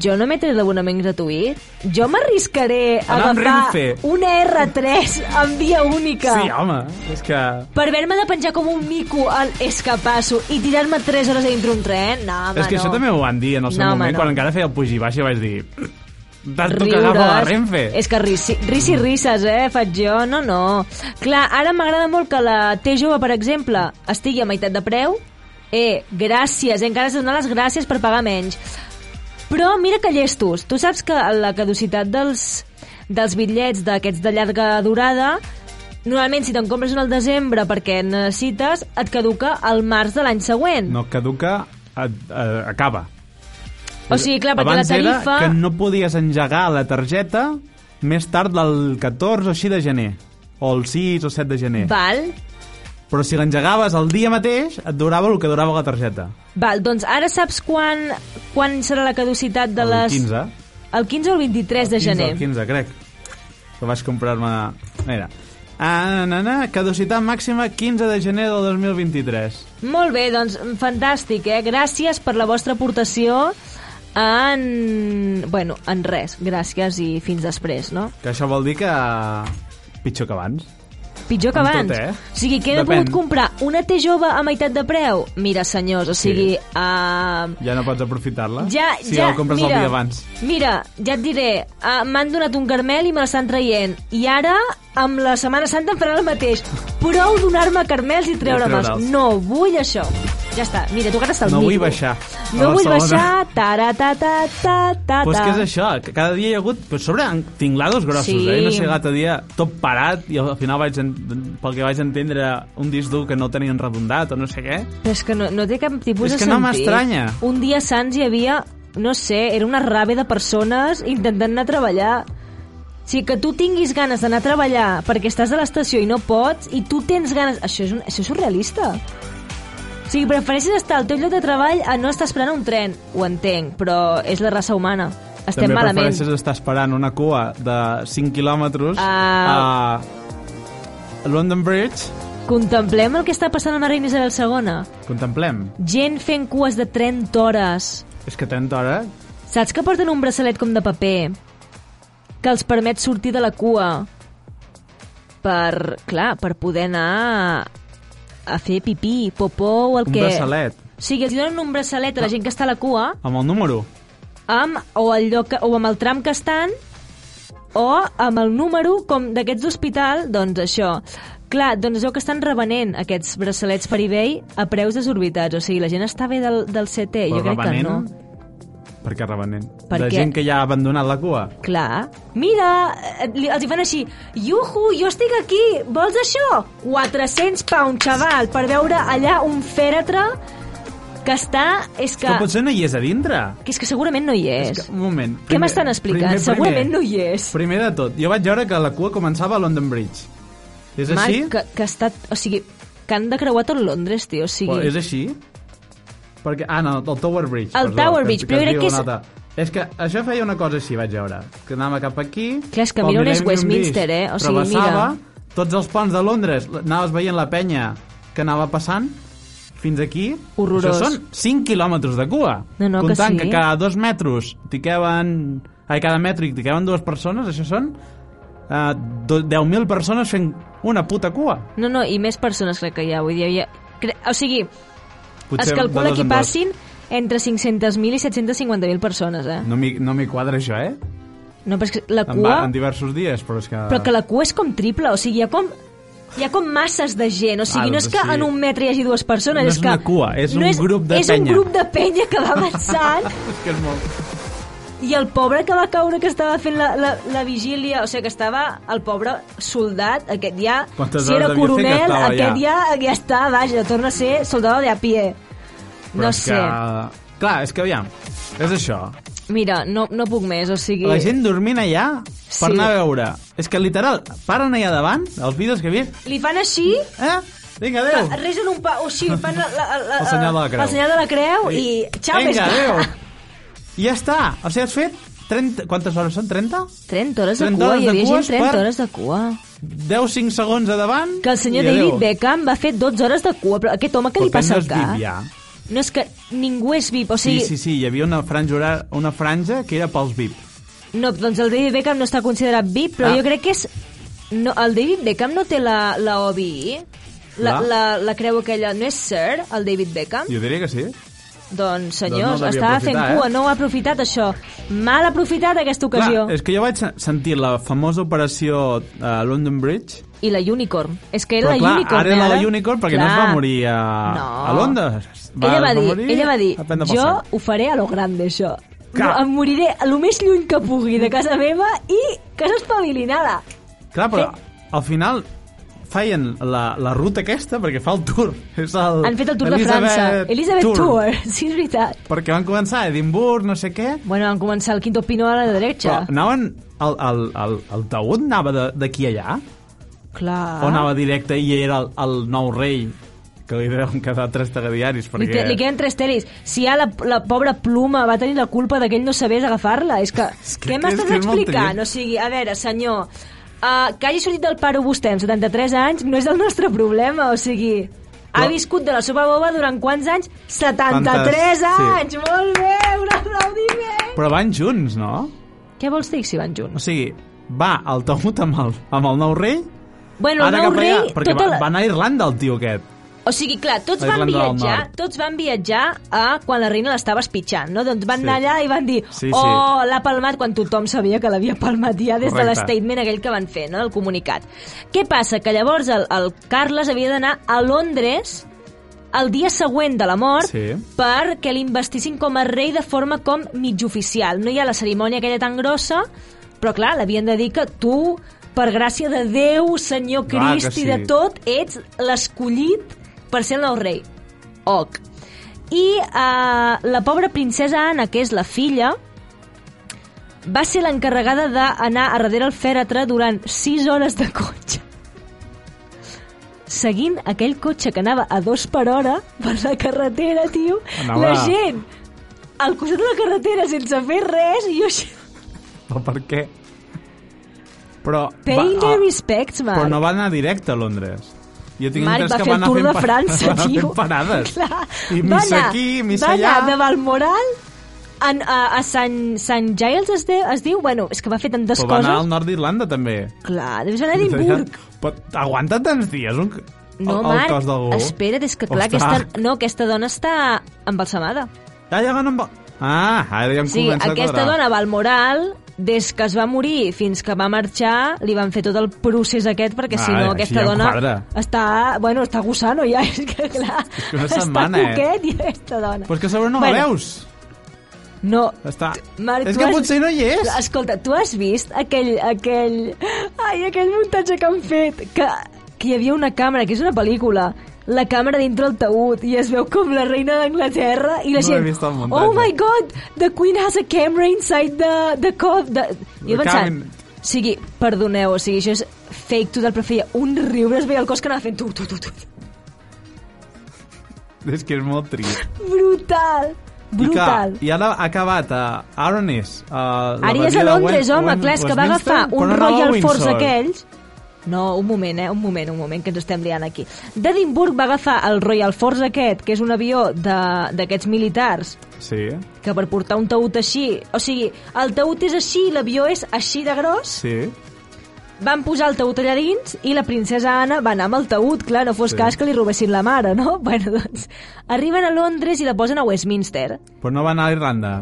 S1: jo no m'he tret l'abonament gratuït. Jo m'arriscaré a
S2: Anar amb
S1: agafar
S2: Renfe.
S1: una R3 amb via única.
S2: Sí, home, és que...
S1: per haver-me de penjar com un mico al escapasso i tirar-me 3 hores dintre un tren, no, home,
S2: és que
S1: no.
S2: això també ho van dir en el seu
S1: No, home,
S2: moment,
S1: no.
S2: quan encara feia el puig i baix, i vaig dir... Tanto que
S1: Riures.
S2: agafa la Renfe.
S1: És que risi, risi risses, eh, faig jo. No, no. Clar, ara m'agrada molt que la T jove, per exemple, estigui a meitat de preu. Eh, gràcies, eh, encara has de donar les gràcies per pagar menys. Però mira que llestos. Tu saps que la caducitat dels, dels bitllets d'aquests de llarga durada Normalment, si te'n compres un al desembre perquè necessites, et caduca al març de l'any següent.
S2: No, caduca, a, a, acaba.
S1: o sigui, clar, perquè
S2: Abans
S1: la tarifa...
S2: era que no podies engegar la targeta més tard del 14 o així de gener. O el 6 o 7 de gener.
S1: Val,
S2: Però si l'engegaves el dia mateix, et durava el que durava la targeta.
S1: Val, doncs ara saps quan, quan serà la caducitat de
S2: El
S1: les...
S2: 15.
S1: El 15 o el 23 de
S2: 15,
S1: gener.
S2: El 15, crec. Que vaig comprar-me... Mira. Ah, na, na, caducitat màxima 15 de gener del 2023.
S1: Molt bé, doncs fantàstic, eh? Gràcies per la vostra aportació en... Bueno, en res. Gràcies i fins després, no?
S2: Que això vol dir que... Pitjor que abans.
S1: Pitjor que
S2: Amb tot,
S1: abans.
S2: eh?
S1: O sigui, que he
S2: Depèn.
S1: pogut comprar una T jove a meitat de preu? Mira, senyors, o sigui... Uh,
S2: Ja no pots aprofitar-la?
S1: Ja,
S2: eh? si
S1: ja,
S2: el compres
S1: mira,
S2: el dia abans.
S1: Mira, ja et diré, uh, m'han donat un carmel i me l'estan traient. I ara, amb la Setmana Santa, em faran el mateix. Prou donar-me carmels i treure'ls.
S2: treure'ls.
S1: No, vull això. Ja està, mira, tu encara estàs
S2: No
S1: mico.
S2: vull baixar a
S1: No vull
S2: Barcelona.
S1: baixar, ta ta ta ta ta
S2: Pues què és això? Que cada dia hi ha hagut... Però a sobre han- tinglados grossos,
S1: Sí.
S2: eh? No sé, l'altre dia tot parat i al final vaig, en... pel que vaig entendre un disc dur que no tenien redondat o no sé què.
S1: Però és que no, no té cap tipus
S2: És
S1: de
S2: que no
S1: sentit.
S2: m'estranya.
S1: Un dia a Sants hi havia, no sé, era una ràbia de persones intentant anar a treballar. O sigui, que tu tinguis ganes d'anar a treballar perquè estàs a l'estació i no pots, i tu tens ganes... Això és, un, això és surrealista. O sigui, prefereixes estar al teu lloc de treball a no estar esperant un tren. Ho entenc, però és la raça humana. Estem
S2: També
S1: malament.
S2: prefereixes estar esperant una cua de 5 quilòmetres
S1: Ah.
S2: a London Bridge.
S1: Contemplem el que està passant amb la reina Isabel II.
S2: Contemplem.
S1: Gent fent cues de 30 hores.
S2: És que 30 hores...
S1: Saps que porten un braçalet com de paper que els permet sortir de la cua per, clar, per poder anar a fer pipí, popó o el
S2: Un
S1: que...
S2: braçalet. Ah.
S1: O sigui, els donen un braçalet a la gent que està a la cua
S2: Amb el número.
S1: amb, o, el lloc, que- o amb el tram que estan o amb el número com d'aquests d'hospital, doncs això. Clar, doncs es veu que estan revenent aquests braçalets per eBay a preus desorbitats. O sigui, la gent està bé del, del CT. Eh, jo crec que no.
S2: Per què revenent?
S1: Per
S2: de
S1: què?
S2: gent que ja ha abandonat la cua.
S1: Clar. Mira, eh, li- els hi fan així. Juhu, jo estic aquí. Vols això? 400 pounds, xaval, per veure allà un fèretre que està... És que,
S2: Que potser no hi és a dintre.
S1: que, és que segurament no hi és.
S2: És que, un moment.
S1: Què m'estan explicant? Segurament no hi és.
S2: Primer de tot, jo vaig veure que la cua començava a London Bridge. És
S1: Marc,
S2: així?
S1: que, que ha estat... O sigui, que han de creuar tot Londres, tio. O sigui,
S2: Però És així? Perquè, ah, no, el Tower Bridge.
S1: El
S2: perdó,
S1: Tower
S2: que-
S1: Bridge,
S2: que
S1: però
S2: es
S1: crec
S2: diu
S1: que és-
S2: una altra. És que això feia una cosa així, vaig veure. Que anava cap aquí...
S1: Clar, és que
S2: pel
S1: mira on és
S2: Millennium
S1: Westminster,
S2: Bridge,
S1: eh? O sigui,
S2: travessava
S1: mira.
S2: tots els ponts de Londres. l- Anaves veient la penya que anava passant fins aquí.
S1: Horrorós.
S2: Això són 5 quilòmetres de cua.
S1: No, no, que
S2: Comptant
S1: sí.
S2: que cada dos metres ticaven... A cada metro hi ticaven dues persones, això són eh, do- 10.000 persones fent una puta cua.
S1: No, no, i més persones crec que hi ha. Vull dir, hi ha... Cre... O sigui,
S2: Potser
S1: es
S2: de
S1: calcula
S2: dos
S1: que
S2: en
S1: hi
S2: dos.
S1: passin entre 500.000 i 750.000 persones, eh?
S2: No m'hi no m'hi quadra això, eh?
S1: No, però és que la
S2: En, va,
S1: cua...
S2: en diversos dies, però és que...
S1: Però que la cua és com triple, o sigui, hi ha com... Hi ha com masses de gent, o sigui,
S2: Ah,
S1: no és
S2: doncs
S1: que
S2: sí.
S1: en un metre hi hagi dues persones,
S2: No
S1: és
S2: és
S1: que...
S2: una cua, és un grup de
S1: és
S2: penya.
S1: un grup de penya que va avançant
S2: És que és molt...
S1: i el pobre que va caure que estava fent la, la, la vigília, o sigui, que estava el pobre soldat, aquest ja...
S2: Quantes
S1: si era
S2: hores devia fer que
S1: coronel,
S2: estava
S1: aquest
S2: allà?
S1: ja, ja està, vaja, torna a ser soldado de a pie.
S2: Però
S1: no
S2: és
S1: sé.
S2: Que... Clar, és que aviam, és això.
S1: Mira, no, no puc més, o sigui...
S2: La gent dormint allà per
S1: Sí.
S2: anar a veure. És que literal, paren allà davant, els vídeos que he vist,
S1: Li fan així,
S2: eh? Vinga, adéu!
S1: fa- resen un pa... O sigui, fan la, la, la,
S2: El senyal de la creu.
S1: El senyal de la creu i... Xau, més
S2: Vinga, adéu! I ja està! O sigui, has fet 30... Quantes hores són? 30?
S1: 30 hores de
S2: 30
S1: cua,
S2: hores
S1: hi
S2: de
S1: havia gent
S2: cues
S1: 30
S2: per-
S1: hores de cua.
S2: 10, 5 segons a davant
S1: Que el senyor
S2: i adéu.
S1: David Beckham va fer 12 hores de cua, però aquest home què
S2: Però
S1: li passa
S2: no
S1: al
S2: és
S1: cap?
S2: VIP, ja.
S1: No és que ningú és VIP, o
S2: Sí,
S1: sigui...
S2: sí, sí, hi havia una franja, hora- una franja que era pels VIP.
S1: No, doncs el David Beckham no està considerat VIP, però
S2: Ah.
S1: jo crec que és... No, el David Beckham no té la, la OBI, la,
S2: La?
S1: la, la creu aquella... No és Sir, el David Beckham?
S2: Jo diria que sí.
S1: Doncs, senyors,
S2: Doncs no el devia
S1: estava fent
S2: aprofitar, eh?
S1: cua, no ho ha aprofitat, això. Mal aprofitat aquesta ocasió.
S2: Clar, és que jo vaig se- sentir la famosa operació a London Bridge,
S1: I la Unicorn. És que era la
S2: però clar,
S1: Unicorn,
S2: ara era
S1: eh,
S2: la Unicorn perquè no es va morir a,
S1: No.
S2: a Londres.
S1: ella va,
S2: es
S1: dir,
S2: morir
S1: ella va dir,
S2: a prendre pel
S1: jo
S2: sac.
S1: ho faré a lo grande, això.
S2: Clar.
S1: No, em moriré el més lluny que pugui de casa meva i casa espavilinada.
S2: Clar, però al final feien la, la ruta aquesta perquè fa el tour. És el,
S1: Han fet el Tour de França. Elizabeth Tour. sí, és veritat.
S2: Perquè van començar a Edimburg, no sé què,
S1: Bueno, van començar el quinto pino a la
S2: però
S1: dreta.
S2: anaven... El, el, el, el taüt anava de- d'aquí a allà?
S1: Clar.
S2: O anava directe i era el, el nou rei que li deuen quedar tres
S1: Li,
S2: tegadiaris perquè...
S1: que, li queden tres telis. Si ja la, la pobra pluma va tenir la culpa de que ell no sabés agafar-la, és que...
S2: És que
S1: què
S2: és
S1: m'estàs
S2: que és molt
S1: explicant?
S2: trist.
S1: O sigui, a veure, senyor, uh, que hagi sortit del paro vostè amb 73 anys no és el nostre problema, o sigui... Ha
S2: Però-
S1: viscut de la sopa boba durant quants anys? 73
S2: Tantes, sí.
S1: anys! Molt bé, un aplaudiment!
S2: Però van junts, no?
S1: Què vols dir si van
S2: O
S1: junts?
S2: sigui, va el taüt amb el, amb el nou rei,
S1: Bueno, el
S2: ara
S1: nou
S2: cap
S1: rei...
S2: allà, perquè
S1: tota
S2: va,
S1: la-
S2: va anar a Irlanda el tio aquest.
S1: O sigui, clar, tots
S2: A
S1: van
S2: Irlanda del
S1: viatjar,
S2: Nord.
S1: tots van viatjar a quan la reina l'estava espitxant, no? Doncs van anar
S2: Sí.
S1: allà i van dir,
S2: Sí, sí.
S1: oh, l'ha palmat, quan tothom sabia que l'havia palmat ja des de
S2: Correcte.
S1: l'estatement aquell que van fer, no?, el comunicat. Què passa? Que llavors el, el Carles havia d'anar a Londres el dia següent de la mort
S2: Sí.
S1: perquè l'investissin com a rei de forma com mig oficial. No hi ha la cerimònia aquella tan grossa, però clar, l'havien de dir que tu, per gràcia de Déu, Senyor
S2: Clar que
S1: Crist i
S2: sí.
S1: de tot, ets l'escollit per ser el nou rei. Oc. I eh, la pobra princesa Anna, que és la filla, va ser l'encarregada d'anar a darrere el fèretre durant 6 hores de cotxe. Seguint aquell cotxe que anava a dos per hora per la carretera, tio,
S2: Anava-
S1: la gent al costat de la carretera sense fer res i jo... així-
S2: Però per què? Però,
S1: Pay
S2: ah,
S1: their respects, Marc.
S2: però no va anar directe a Londres. Jo tinc
S1: Marc
S2: entès
S1: va
S2: que
S1: fer el
S2: anar
S1: Tour de
S2: fent pa-
S1: França,
S2: va anar
S1: tio.
S2: fent parades.
S1: Clar.
S2: I
S1: Va
S2: missa
S1: anar-
S2: aquí, missa
S1: va
S2: allà.
S1: anar de Balmoral en, a, a Sant, Sant Giles es, de, es diu... Bueno, és que va fer tantes
S2: Però va
S1: coses.
S2: anar al nord d'Irlanda, també.
S1: Clar, deus anar a Edimburg.
S2: Però aguanta tants dies un...
S1: No,
S2: el, el
S1: Marc,
S2: cos d'algú.
S1: espera't, és que clar,
S2: Ostres.
S1: aquesta, no, aquesta dona està embalsamada.
S2: Ja, ja van amb... Ah, ara ja em
S1: O sigui,
S2: comença a
S1: aquesta
S2: quadrar.
S1: dona va al moral, des que es va morir fins que va marxar, li van fer tot el procés aquest, perquè si
S2: Ah,
S1: no
S2: així
S1: aquesta
S2: ja em
S1: dona
S2: quadra.
S1: està, bueno, està gusano ja, és que clar,
S2: que una
S1: està
S2: setmana, eh?
S1: coquet i aquesta dona.
S2: Però és que a sobre no
S1: Bueno.
S2: la veus.
S1: No,
S2: Està...
S1: Marc,
S2: és
S1: tu
S2: que
S1: has-
S2: potser no hi és.
S1: Escolta, tu has vist aquell, aquell... Ai, aquell muntatge que han fet, que, que hi havia una càmera, que és una pel·lícula, la càmera dintre el taüt i es veu com la reina d'Anglaterra i la
S2: No l'he
S1: gent,
S2: vist el muntatge.
S1: oh my god, the queen has a camera inside the, the cove. The... I
S2: The
S1: jo pensant,
S2: cabin.
S1: o sigui, perdoneu, o sigui, això és fake total, però feia un riure, es veia el cos que anava fent tu, tu, tu, tu.
S2: És que és molt trist.
S1: Brutal, brutal.
S2: I, que, I ara ha acabat eh, a Aronis. A la
S1: Ara ja és
S2: badia
S1: a
S2: de
S1: Londres,
S2: Wen-
S1: home,
S2: Wen-
S1: clar, és que va
S2: Westminster,
S1: agafar
S2: però
S1: un
S2: no anava a
S1: Royal Force
S2: Windsor.
S1: d'aquells... No, un moment, eh? Un moment, un moment, que ens estem liant aquí. D'Edimburg va agafar el Royal Force aquest, que és un avió de- d'aquests militars,
S2: Sí,
S1: que per portar un taüt així... O sigui, el taüt és així, l'avió és així de gros,
S2: sí.
S1: van posar el taüt allà dins i la princesa Anna va anar amb el taüt, clar, no fos
S2: Sí.
S1: sí. cas que li robessin la mare, no? Bueno, doncs, arriben a Londres i la posen a Westminster.
S2: Però no va anar a Irlanda.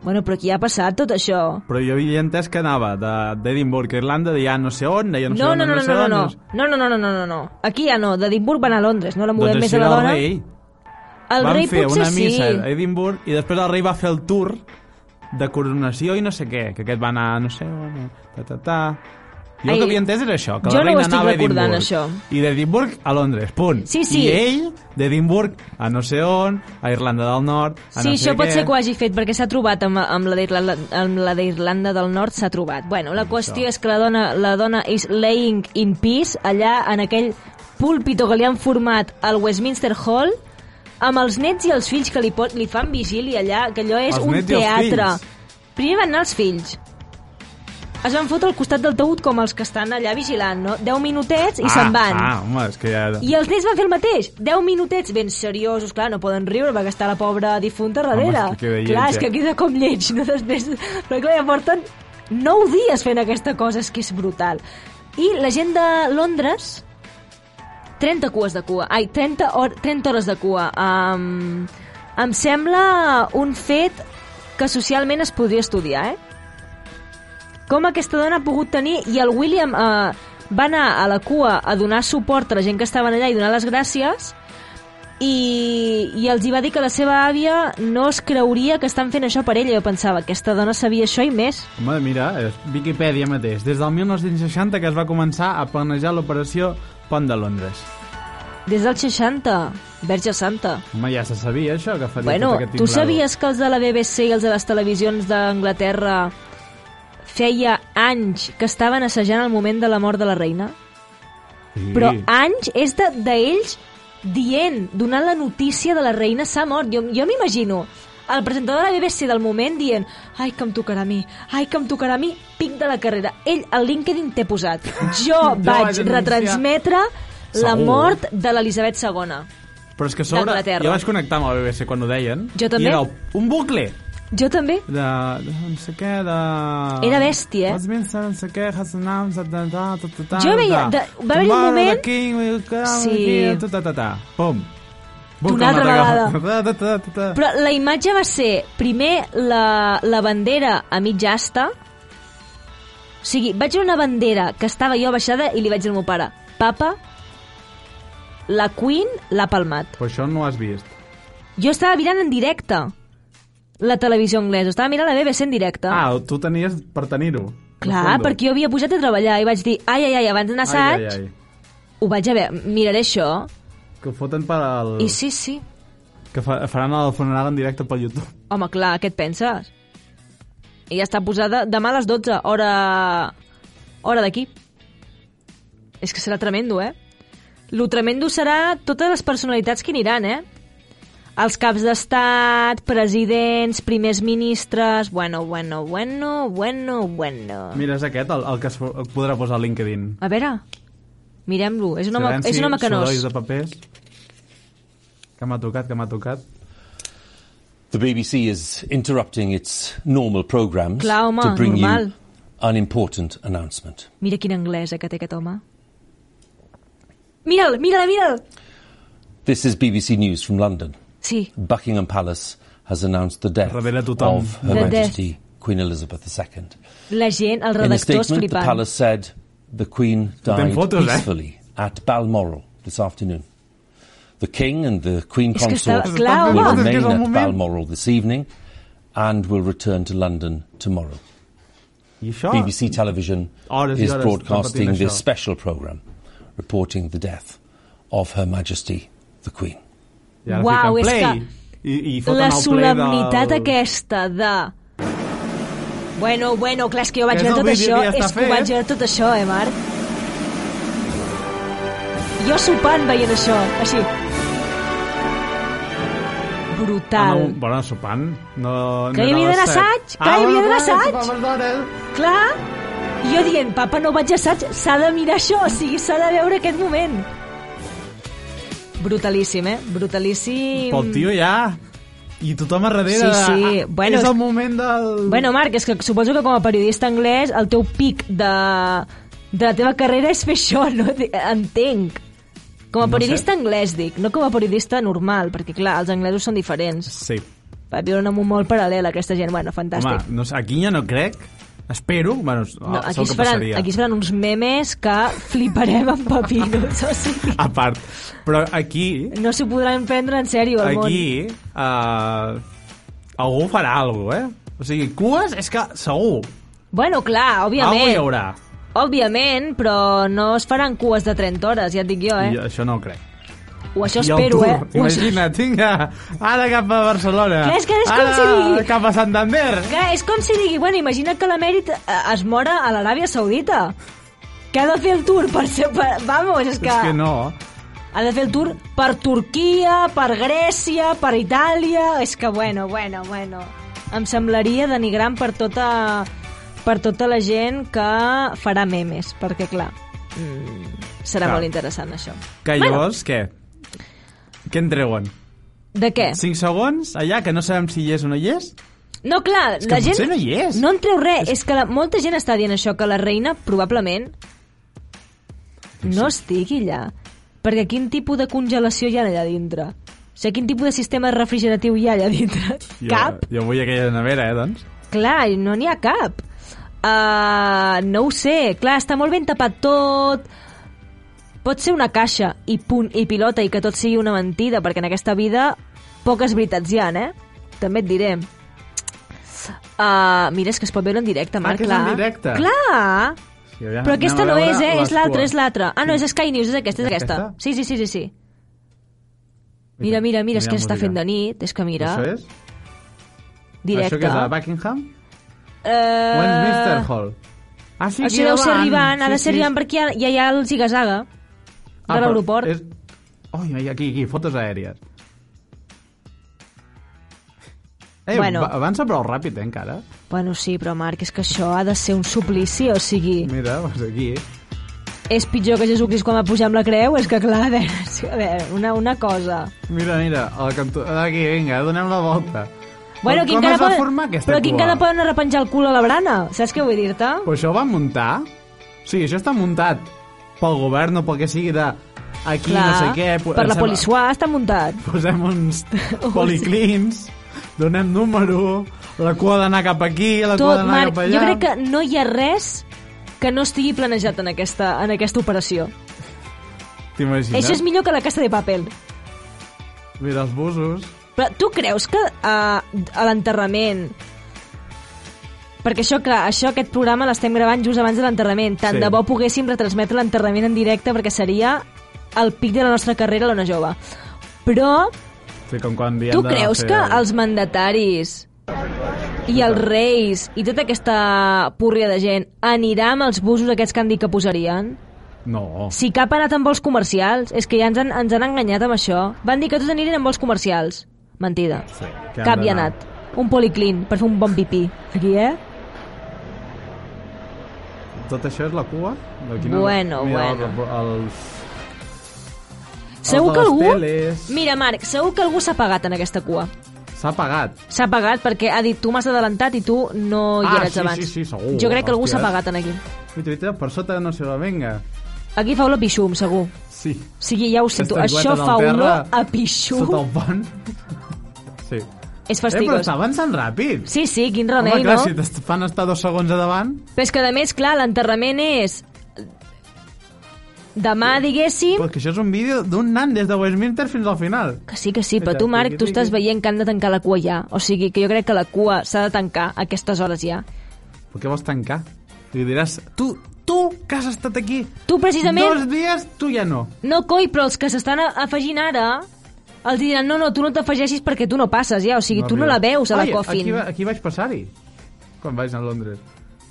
S1: Bueno, però aquí ha passat tot això.
S2: Però jo havia entès que anava de- d'Edimburg a Irlanda, de ja no sé on, de ja no, sé
S1: No,
S2: on,
S1: no, no,
S2: no
S1: no,
S2: sé
S1: no, no,
S2: on,
S1: no, no, no, no, no, no, no, no. Aquí ja no, d'Edimburg van a Londres, no la movem
S2: Doncs
S1: més a
S2: així
S1: la
S2: era el
S1: dona.
S2: rei.
S1: El
S2: Van
S1: rei
S2: fer
S1: potser
S2: una missa a
S1: sí.
S2: Edimburg i després el rei va fer el tour de coronació i no sé què, que aquest va anar, no sé, on, ta, ta, ta. Jo el
S1: Ai,
S2: que havia entès era això, que
S1: jo
S2: la
S1: no ho
S2: reina
S1: estic
S2: anava a
S1: recordant,
S2: Edimburg.
S1: això.
S2: I d'Edimburg a Londres, punt.
S1: Sí, sí.
S2: I ell, d'Edimburg a no sé on, a Irlanda del Nord, a
S1: Sí,
S2: no sé
S1: això pot
S2: què.
S1: ser que ho hagi fet, perquè s'ha trobat amb, amb la d'Irlanda- amb la d'Irlanda del Nord, s'ha trobat. Bueno, la qüestió és que la dona, la dona is laying in peace, allà en aquell púlpito que li han format al Westminster Hall, amb els nets i els fills que li, pot, li fan vigília allà, que allò és
S2: Els
S1: un
S2: nets i els
S1: teatre.
S2: fills.
S1: Primer van anar els fills. Es van fotre al costat del taüt com els que estan allà vigilant, no? 10 minutets i
S2: ah,
S1: se'n van.
S2: Ah, home, és que ja...
S1: I els nens van fer el mateix. 10 minutets ben seriosos, clar, no poden riure perquè està la pobra difunta darrere.
S2: Home, és que queda lleig,
S1: clar, és
S2: eh?
S1: que queda com lleig, no? Després, però clar, ja porten 9 dies fent aquesta cosa, és que és brutal. I la gent de Londres, 30 cues de cua, ai, 30, hor 30 hores de cua. Um, em sembla un fet que socialment es podria estudiar, eh? com aquesta dona ha pogut tenir i el William eh, va anar a la cua a donar suport a la gent que estaven allà i donar les gràcies i, i els hi va dir que la seva àvia no es creuria que estan fent això per ella. Jo pensava, aquesta dona sabia això i més.
S2: Home, mira, és Viquipèdia mateix. Des del 1960 que es va començar a planejar l'operació Pont de Londres.
S1: Des dels 60, Verge Santa.
S2: Home, ja se sabia això, que faria
S1: Bueno,
S2: tot aquest
S1: tu
S2: tinglado.
S1: sabies que els de la BBC i els de les televisions d'Anglaterra feia anys que estaven assajant el moment de la mort de la reina?
S2: Sí.
S1: Però anys és de- d'ells de, dient, donant la notícia de la reina s'ha mort. Jo, jo m'imagino el presentador de la BBC del moment dient ai, que em tocarà a mi, ai, que em tocarà a mi, pic de la carrera. Ell al LinkedIn té posat. Jo
S2: vaig
S1: vaig
S2: anunciar.
S1: retransmetre la
S2: Segur.
S1: mort de l'Elisabet II.
S2: Però és que a sobre,
S1: d'Anglaterra.
S2: jo vaig connectar amb la BBC quan ho deien.
S1: Jo també.
S2: I era un bucle
S1: Jo també.
S2: de, de no sé què, de...
S1: Era bèstia, eh?
S2: Westminster, no sé què, Hassanam, ta, ta, ta, ta, ta, ta,
S1: Jo veia-
S2: ta.
S1: de- va haver-hi un
S2: Tomorrow the
S1: moment-
S2: King, will come
S1: Sí.
S2: here, ta, ta, ta, ta. Pum. Bucle
S1: D'una altra
S2: altre cop. Ta, ta, ta, ta, ta.
S1: Però la imatge va ser, primer, la, la bandera a mitja asta. O sigui, vaig veure una bandera que estava jo baixada i li vaig dir al meu pare, papa, la Queen l'ha palmat.
S2: Però això no ho has vist.
S1: Jo estava mirant en directe la televisió anglesa, estava mirant la BBC en directe.
S2: Ah, tu tenies per tenir-ho.
S1: Clar, perquè jo havia pujat a treballar i vaig dir, ai, ai, ai, abans d'anar a
S2: Ai, ai, Ah.
S1: assaig,
S2: ai.
S1: ho vaig a veure, miraré això.
S2: Que ho foten per al...
S1: I sí, sí,
S2: Que fa, faran el funeral en directe pel YouTube.
S1: Home, clar, què et penses? I ja està posada demà a les 12, hora... hora d'aquí. És que serà tremendo, eh? Lo tremendo serà totes les personalitats que hi aniran, eh? Els caps d'estat, presidents, primers ministres... Bueno, bueno, bueno, bueno, bueno...
S2: Mira, és aquest el, el que es fo- podrà posar a LinkedIn.
S1: A veure, mirem-lo. És un home,
S2: Silenci,
S1: és un home
S2: sorolls
S1: canós.
S2: de papers. Que m'ha tocat, que m'ha tocat.
S5: The BBC is interrupting its normal programmes
S1: Clar, home,
S5: to bring
S1: normal.
S5: you an important announcement.
S1: Mira quin anglès eh, que té aquest home. Mira'l, mira'l, mira'l!
S5: This is BBC News from London.
S1: Sí,
S5: Buckingham Palace has announced the death
S2: Revela tothom.
S5: of Her
S1: The death.
S5: Majesty Queen Elizabeth II.
S1: la gent, el
S5: In a
S1: redactor és
S5: statement, the
S1: flipant.
S5: palace said the Queen
S2: Fotem
S5: died
S2: fotos, eh?
S5: peacefully at Balmoral this afternoon. The King and the Queen
S1: És que
S5: Consort
S1: estava- clar,
S5: will
S1: home.
S2: És que és el
S5: remain at
S2: moment.
S5: Balmoral this evening and will return to London tomorrow.
S2: I això...
S5: BBC Television
S2: Horas y
S5: is
S2: horas
S5: broadcasting
S2: repetindo
S5: this
S2: show.
S5: special programme reporting the death of Her Majesty the Queen.
S2: I ara
S1: Uau, és
S2: fiquen play,
S1: que
S2: i, i foten
S1: La
S2: el play
S1: solemnitat
S2: del...
S1: aquesta de... Bueno, bueno, clar, és que jo vaig
S2: Que és
S1: veure
S2: el
S1: tot
S2: vídeo
S1: això,
S2: que ja està
S1: és que ho
S2: fet.
S1: vaig veure tot això, eh, Marc? Jo sopant veient això, així.
S2: Ah,
S1: Brutal.
S2: no, bueno, sopant. No,
S1: Que
S2: no
S1: hi havia
S2: era
S1: d'anar
S2: les set. Ah,
S1: assaig, que hi havia
S2: bueno, doncs,
S1: d'anar
S2: clar,
S1: assaig.
S2: sopar, perdona.
S1: Clar, i jo dient, papa, no vaig a assaig, s'ha de mirar això, o sigui, s'ha de veure aquest moment. Brutalíssim, eh? Brutalíssim.
S2: Pel tio ja... I tothom a darrere.
S1: Sí, sí,
S2: Ah,
S1: bueno,
S2: és
S1: és-
S2: el moment del...
S1: Bueno, Marc, és que suposo que com a periodista anglès el teu pic de, de la teva carrera és fer això, no? Entenc. Com a
S2: No
S1: periodista anglès, dic, no com a periodista normal, perquè, clar, els anglesos són diferents.
S2: Sí.
S1: Va viure un món molt paral·lel, aquesta gent. Bueno,
S2: Home,
S1: fantàstic.
S2: no, sé, aquí ja no crec. Espero. Bueno,
S1: no, aquí,
S2: segur
S1: es
S2: que
S1: faran,
S2: passaria.
S1: aquí es faran uns memes que fliparem amb papiros, o sigui...
S2: A part. Però aquí...
S1: No s'ho podran prendre en sèrio, el
S2: aquí uh, algú farà alguna cosa, eh? O sigui, cues és que segur.
S1: món. Bueno, clar,
S2: Algú hi
S1: òbviament.
S2: haurà.
S1: Òbviament, però no es faran cues de 30 hores, ja et dic jo, eh?
S2: I això no ho crec.
S1: O això
S2: I el
S1: espero,
S2: tour,
S1: eh? O això-
S2: Imagina't, vinga, ara cap a Barcelona.
S1: Clar, és que és com
S2: ara
S1: si digui-
S2: cap a Santander.
S1: Clar, és com si digui, bueno, imagina't que l'emèrit eh, es mora a l'Aràbia Saudita. Que ha de fer el tour per ser... Per... Vamos, és que...
S2: És que no.
S1: Ha de fer el tour per Turquia, per Grècia, per Itàlia... És que, bueno, bueno, bueno... Em semblaria denigrant per tota, per tota la gent que farà memes, perquè, clar, mm, serà
S2: Clar.
S1: molt interessant, això.
S2: Que llavors, què? Què en treuen?
S1: De què?
S2: 5 segons, allà, que no sabem si hi és o no hi és?
S1: No, clar,
S2: És que
S1: la gent...
S2: potser no hi és.
S1: No en treu res. És, que la, molta gent està dient això, que la reina probablement no estigui allà. Perquè quin tipus de congelació hi ha allà dintre? O sigui, quin tipus de sistema refrigeratiu hi ha allà dintre? Cap?
S2: Jo, jo vull aquella nevera, eh, doncs.
S1: Clar, no n'hi ha cap. Uh, no ho sé. Clar, està molt ben tapat tot. Pot ser una caixa i punt i pilota i que tot sigui una mentida, perquè en aquesta vida poques veritats hi ha, eh? També et diré. Uh, mira, és que es pot veure en directe, Marc,
S2: Ah, que és en
S1: clar.
S2: directe.
S1: Clar!
S2: Sí, aviam,
S1: Però aquesta
S2: anem a
S1: no
S2: veure
S1: és, eh?
S2: les
S1: És l'altra,
S2: cues.
S1: és l'altra. Ah, no, és Sky News, és aquesta, és
S2: És
S1: aquesta.
S2: aquesta?
S1: Sí, sí, sí, sí, sí. Mira, mira, mira, és que s'està fent de nit, és que mira,
S2: Això és?
S1: directe.
S2: Això que és a Buckingham?
S1: Eh,
S2: Westminster Hall. Ah, sí, Ah,
S1: Això deu ser arribant, ha de ser arribant perquè ja, ja hi ha el zigazaga de l'aeroport.
S2: És... Oi, oi, aquí, aquí, fotos aèries. Eh,
S1: Bueno.
S2: bueno. avança prou ràpid, eh, encara.
S1: Bueno, sí, però Marc, és que això ha de ser un suplici, o sigui,
S2: Mira, doncs aquí.
S1: és pitjor que Jesucrist quan va pujar amb la creu, és que clar, a veure, sí, a veure una, una cosa...
S2: Mira, mira, el cantó... Aquí, vinga, donem la volta.
S1: Bueno,
S2: Com-
S1: quin
S2: Com
S1: cara
S2: es va
S1: poden-
S2: formar aquesta
S1: Però quin
S2: cua?
S1: cara poden arrepenjar el cul a la brana, saps què vull dir-te?
S2: Però això ho van muntar? Sí, això està muntat pel govern o pel que sigui de... Aquí,
S1: Clar,
S2: no sé què... po-
S1: per la
S2: em sembla-
S1: polissuà està muntat.
S2: posem uns policlins, donem número, la cua ha d'anar cap aquí, la cua ha
S1: Tot,
S2: d'anar
S1: Marc,
S2: cap allà...
S1: jo crec que no hi ha res que no estigui planejat en aquesta, en aquesta operació.
S2: T'imagines?
S1: Això és millor que la casa de paper.
S2: Mira els busos...
S1: Però tu creus que a, a l'enterrament... Perquè això, clar, això, aquest programa l'estem gravant just abans de l'enterrament. Tant
S2: Sí.
S1: sí. de bo poguéssim retransmetre l'enterrament en directe perquè seria el pic de la nostra carrera a l'Ona Jove. Però
S2: Sí, com quan diem
S1: tu
S2: de
S1: creus
S2: fer
S1: que els mandataris i els reis i tota aquesta púrria de gent anirà amb els busos aquests que han dit que posarien?
S2: No,
S1: Si cap ha anat amb vols comercials, és que ja ens han, ens han enganyat amb això. Van dir que tots anirien amb vols comercials. Mentida.
S2: Sí, que han
S1: cap hi ha
S2: d'anar.
S1: anat. Un policlin per fer un bon pipí. Aquí, eh?
S2: tot això és la cua? D'aquí
S1: Bueno,
S2: Mira,
S1: bueno.
S2: El, els...
S1: Segur
S2: de
S1: que
S2: les
S1: algú...
S2: teles.
S1: Mira, Marc, segur que algú s'ha pagat en aquesta cua.
S2: S'ha pagat.
S1: S'ha pagat perquè ha dit tu m'has adelantat i tu no hi
S2: Ah,
S1: eres
S2: sí,
S1: abans.
S2: sí, sí, segur.
S1: Jo crec que algú
S2: Hòstia,
S1: s'ha pagat en aquí.
S2: Mira, mira, per sota no sé, va, vinga.
S1: Aquí fa olor a pixum, segur.
S2: Sí.
S1: O sigui, ja ho sento,
S2: Aquesta
S1: això
S2: cueta del
S1: fa
S2: terra,
S1: olor a
S2: Sota
S1: pixum.
S2: el pont. Sí.
S1: És
S2: Eh, però
S1: fastigós.
S2: està avançant ràpid.
S1: Sí, sí, quin
S2: Home,
S1: remei,
S2: clar,
S1: no?
S2: si te fan estar dos segons a davant...
S1: Però és que, a més, clar, l'enterrament és... Demà, diguéssim...
S2: Però és que això és un vídeo d'un nan des de Westminster fins al final.
S1: Que sí, que sí, però tu, Marc, tu estàs veient que han de tancar la cua ja. O sigui, que jo crec que la cua s'ha de tancar a aquestes hores ja.
S2: Per què vols tancar? Li diràs... Tu, tu, que has estat aquí
S1: Tu, precisament-
S2: dos dies, tu ja no.
S1: No, coi, però els que s'estan a- afegint ara els diran, no, no, tu no t'afegeixis perquè tu no passes ja, o sigui, tu no
S2: arriba.
S1: la veus a la
S2: Ai,
S1: Coffin.
S2: Aquí, va- aquí vaig passar-hi, quan vaig anar a Londres.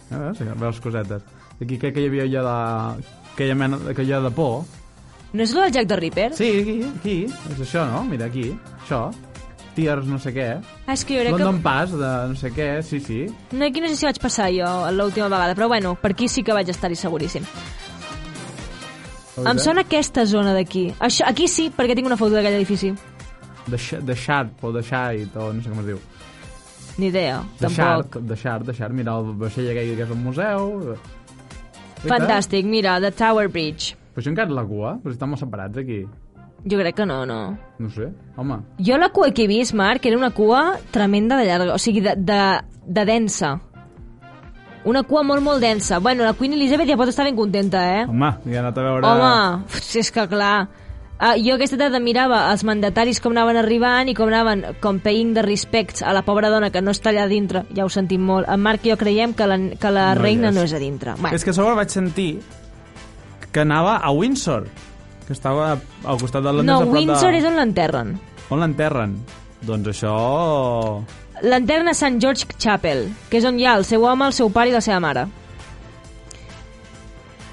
S2: Ah, veus, Ja veus cosetes. Aquí crec que hi havia ja de... aquella mena aquella de por.
S1: No és el Jack the Ripper?
S2: Sí, aquí, aquí. És això, no? Mira, aquí. Això. Tears no sé què.
S1: Ah, és que jo crec
S2: London Pass de no sé què, sí, sí.
S1: que... No, aquí no sé si vaig passar jo l'última vegada, però bueno, per aquí sí que vaig estar-hi seguríssim. Em sona aquesta zona d'aquí. Això, aquí sí, perquè tinc una foto d'aquell edifici.
S2: The, Sh- the Sharp o The Shite o no sé com es diu.
S1: Ni idea,
S2: The Shark,
S1: tampoc.
S2: The Shark, The Shark. Mira, el vaixell aquell que és un museu.
S1: Fantàstic, mira, The Tower Bridge.
S2: Però això encara és la cua? Però si estan molt separats aquí.
S1: Jo crec que no, no.
S2: No sé, home.
S1: Jo la cua que he vist, Marc, era una cua tremenda de llarga, o sigui, de, de, de densa. Una cua molt, molt densa. Bueno, la Queen Elizabeth ja pot estar ben contenta, eh?
S2: Home, ja he anat a veure...
S1: Home, si és que clar... Uh, jo aquesta tarda mirava els mandataris com anaven arribant i com anaven com paying the respects a la pobra dona que no està allà dintre. Ja ho sentim molt. En Marc i jo creiem que la, que la
S2: No hi
S1: reina
S2: és.
S1: no és a dintre. Bueno,
S6: És que a sobre vaig sentir que anava a Windsor, que estava al costat de Londres.
S1: no,
S6: a prop
S1: Windsor
S6: de...
S1: és on l'enterren.
S6: On l'enterren? Doncs això...
S1: L'enterren a St. George Chapel, que és on hi ha el seu home, el seu pare i la seva mare.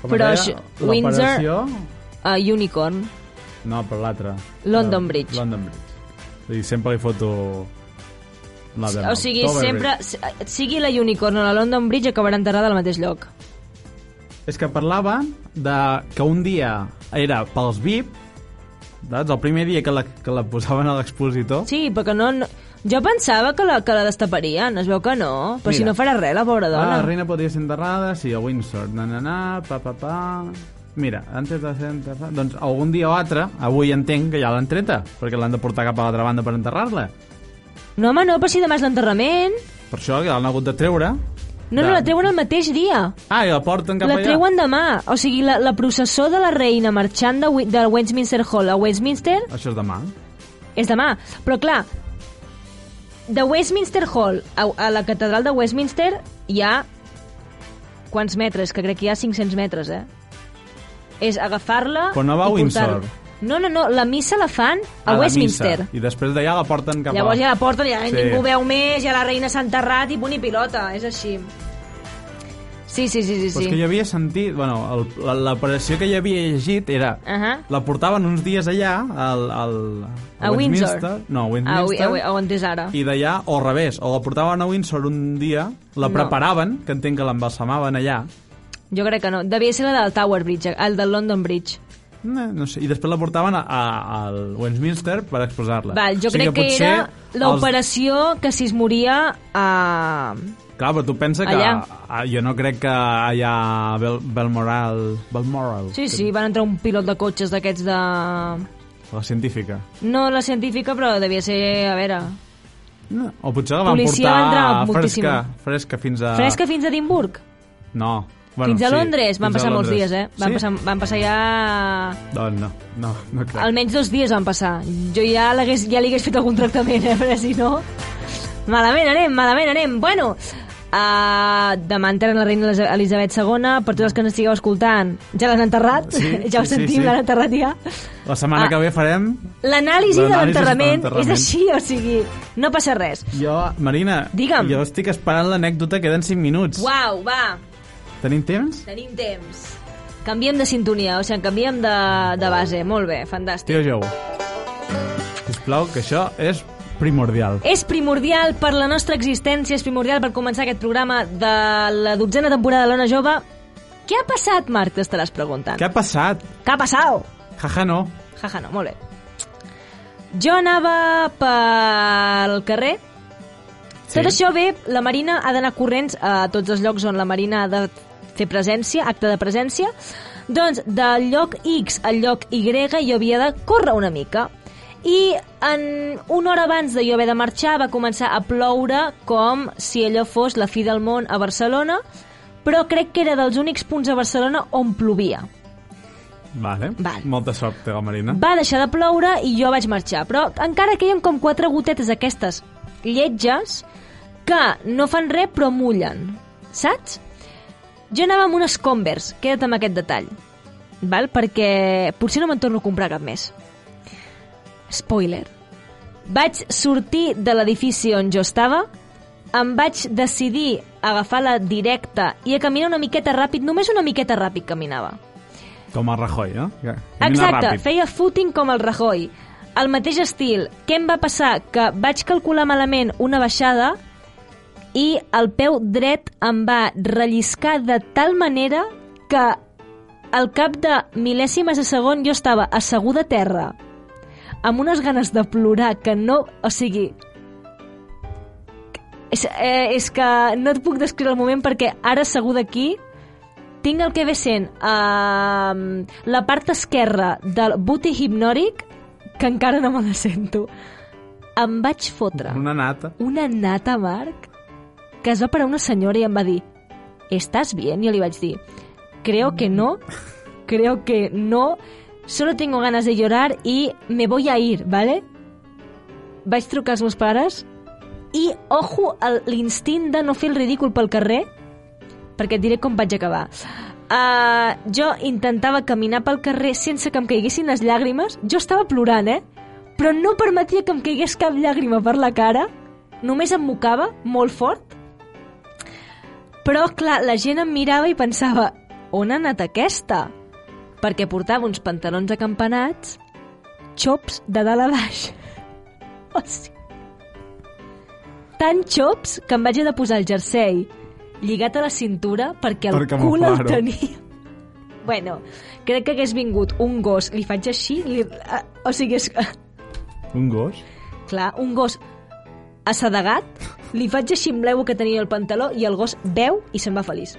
S2: Com
S1: però
S2: deia,
S1: això-
S2: l'operació-
S1: A Unicorn.
S2: No, però l'altra.
S1: London
S2: Eh,
S1: Bridge.
S2: London Bridge. I sempre li foto... La de
S1: O sigui,
S2: Tower
S1: sempre, si- sigui la Unicorn o la London Bridge, acabarà enterrada al mateix lloc.
S2: Bridge. És que parlava de que un dia era pels VIP, saps? el primer dia que la, que la posaven a l'expositor,
S1: Sí, però que no... no... Jo pensava que la, que la destaparien, es veu que no. Però
S2: Mira.
S1: si no farà res, la pobra
S2: Ah,
S1: dona.
S2: la reina podria ser enterrada, sí, a Windsor. Na, na, na, pa, pa, pa... Mira, antes de ser enterrada... Doncs algun dia o altre, avui entenc que ja l'han treta, perquè l'han de portar cap a l'altra banda per enterrar-la.
S1: No, home, no, però si demà és l'enterrament.
S2: Per això que l'han hagut de treure.
S1: No, no,
S2: De-
S1: la treuen el mateix dia.
S2: Ah, i la porten cap
S1: La
S2: allà.
S1: treuen demà. O sigui, la, la processó de la reina marxant de, Wi- del Westminster Hall a Westminster
S2: Això és demà.
S1: és demà. Però clar, de Westminster Hall a, a la catedral de Westminster hi ha quants metres? Que crec que hi ha 500 metres, eh? És agafar-la...
S2: Però no va a
S1: i portar-la.
S2: Windsor.
S1: No, no, no, la missa la fan a,
S2: la
S1: Westminster.
S2: missa. I després d'allà la porten cap
S1: Llavors
S2: a...
S1: ja la porten, ja
S2: Sí.
S1: sí. ningú veu més, ja la reina s'ha enterrat i punt i pilota, és així. Sí, sí, sí, sí.
S2: Però
S1: sí.
S2: és que jo havia sentit... Bueno, el- la- l'operació que jo havia llegit era...
S1: Ahà.
S2: La portaven uns dies allà, al, al,
S1: A Windsor.
S2: Westminster.
S1: Ah,
S2: No, a
S1: ui,
S2: Westminster.
S1: ah, ui, on és ara.
S2: i d'allà, o al revés, o la portaven a Windsor un dia, la
S1: No.
S2: preparaven, que entenc que l'embalsamaven allà,
S1: Jo crec que no. Devia ser la del Tower Bridge, el del London Bridge.
S2: no, Eh, no sé, i després la portaven a, a, al Westminster per exposar-la.
S1: Val, jo
S2: O sigui
S1: crec que,
S2: potser
S1: era l'operació que si es moria eh, a...
S2: Els... Clar, però tu pensa que...
S1: Allà.
S2: A, jo no crec que allà a Bel, Belmoral... Belmoral,
S1: Sí, sí, van entrar un pilot de cotxes d'aquests de...
S2: la científica.
S1: No la científica, però devia ser, a veure...
S2: No. O potser la van
S1: Policia va entrar
S2: portar
S1: moltíssima.
S2: fresca, fresca fins a...
S1: Fresca fins a Edimburg?
S2: No. Ah. Bueno,
S1: Fins a
S2: sí,
S1: Londres? Van
S2: fins a
S1: passar molts dies,
S2: Londres.
S1: eh? Van
S2: sí?
S1: passar, van passar ja...
S2: Doncs no, no, no crec.
S1: Almenys dos dies van passar. Jo ja, l'hagués- ja li hagués fet algun tractament, eh? Perquè si no... Malament anem, malament anem. Bueno, uh, demà enterren la reina Elisa- Elisabet II. Per tots els que ens estigueu escoltant, ja l'han enterrat.
S2: Sí,
S1: ja ho
S2: sí, sí,
S1: sentim,
S2: sí.
S1: l'han enterrat ja.
S2: La setmana
S1: Ah.
S2: que ve farem
S1: L'anàlisi de
S2: L'anàlisi
S1: l'enterrament
S2: de l'enterrament.
S1: és així, o sigui, no passa res.
S2: Jo, Marina,
S1: Digue'm.
S2: jo estic esperant l'anècdota, queden 5 minuts.
S1: Uau, va,
S2: Tenim temps?
S1: tenim temps. Canviem de sintonia, o sigui, canviem de, de base. Molt bé, fantàstic.
S2: Tio Jou, sisplau, que això és primordial.
S1: És primordial per la nostra existència, és primordial per començar aquest programa de la dotzena temporada de l'Ona Jove. Què ha passat, Marc, t'estaràs preguntant?
S2: Què ha passat?
S1: Què ha passat?
S2: Jaja, no.
S1: Jaja, no, molt bé. Jo anava pel carrer. Sí. Tot això bé, la Marina ha d'anar corrents a tots els llocs on la Marina ha de fer presència, acte de presència. Doncs del lloc X al lloc Y jo havia de córrer una mica. I en una hora abans de jo haver de marxar va començar a ploure com si allò fos la fi del món a Barcelona, però crec que era dels únics punts a Barcelona on plovia.
S2: Vale.
S1: Val.
S2: Molta sort, la Marina.
S1: Va deixar de ploure i jo vaig marxar, però encara queien com quatre gotetes aquestes lletges que no fan res però mullen, saps? Jo anava amb unes Converse, queda't amb aquest detall, val? perquè potser no me'n torno a comprar cap més. Spoiler. Vaig sortir de l'edifici on jo estava, em vaig decidir a agafar la directa i a caminar una miqueta ràpid, només una miqueta ràpid caminava.
S2: Com a Rajoy, no? Que- que camina
S1: Exacte,
S2: ràpid.
S1: feia footing com el Rajoy. El mateix estil. Què em va passar? Que vaig calcular malament una baixada i el peu dret em va relliscar de tal manera que al cap de mil·lèsimes de segon jo estava asseguda a terra amb unes ganes de plorar que no... O sigui... És, eh, és que no et puc descriure el moment perquè ara asseguda aquí tinc el que ve sent uh, la part esquerra del buti hipnòric que encara no me la sento. Em vaig fotre
S2: Una nata.
S1: una nata, Marc, que es va parar una senyora i em va dir «Estàs bien?» I jo li vaig dir «Creo que no, creo que no, solo tengo ganas de llorar y me voy a ir, ¿vale?» Vaig trucar als meus pares i, ojo, al- l'instint de no fer el ridícul pel carrer, perquè et diré com vaig acabar. Uh, jo intentava caminar pel carrer sense que em caiguessin les llàgrimes. Jo estava plorant, eh? Però no permetia que em caigués cap llàgrima per la cara. Només em mocava, molt fort. Però, clar, la gent em mirava i pensava on ha anat aquesta? Perquè portava uns pantalons acampanats, xops de dalt a baix. O sigui, tan xops que em vaig haver de posar el jersei lligat a la cintura perquè el
S2: Per
S1: cul el
S2: camuflar-ho.
S1: tenia. Bueno, crec que hagués vingut un gos, li faig així, li... ah, o sigui, és...
S2: Un gos?
S1: clar, un gos assedegat, li faig així amb l'eu que tenia el pantaló i el gos veu i se'n va feliç.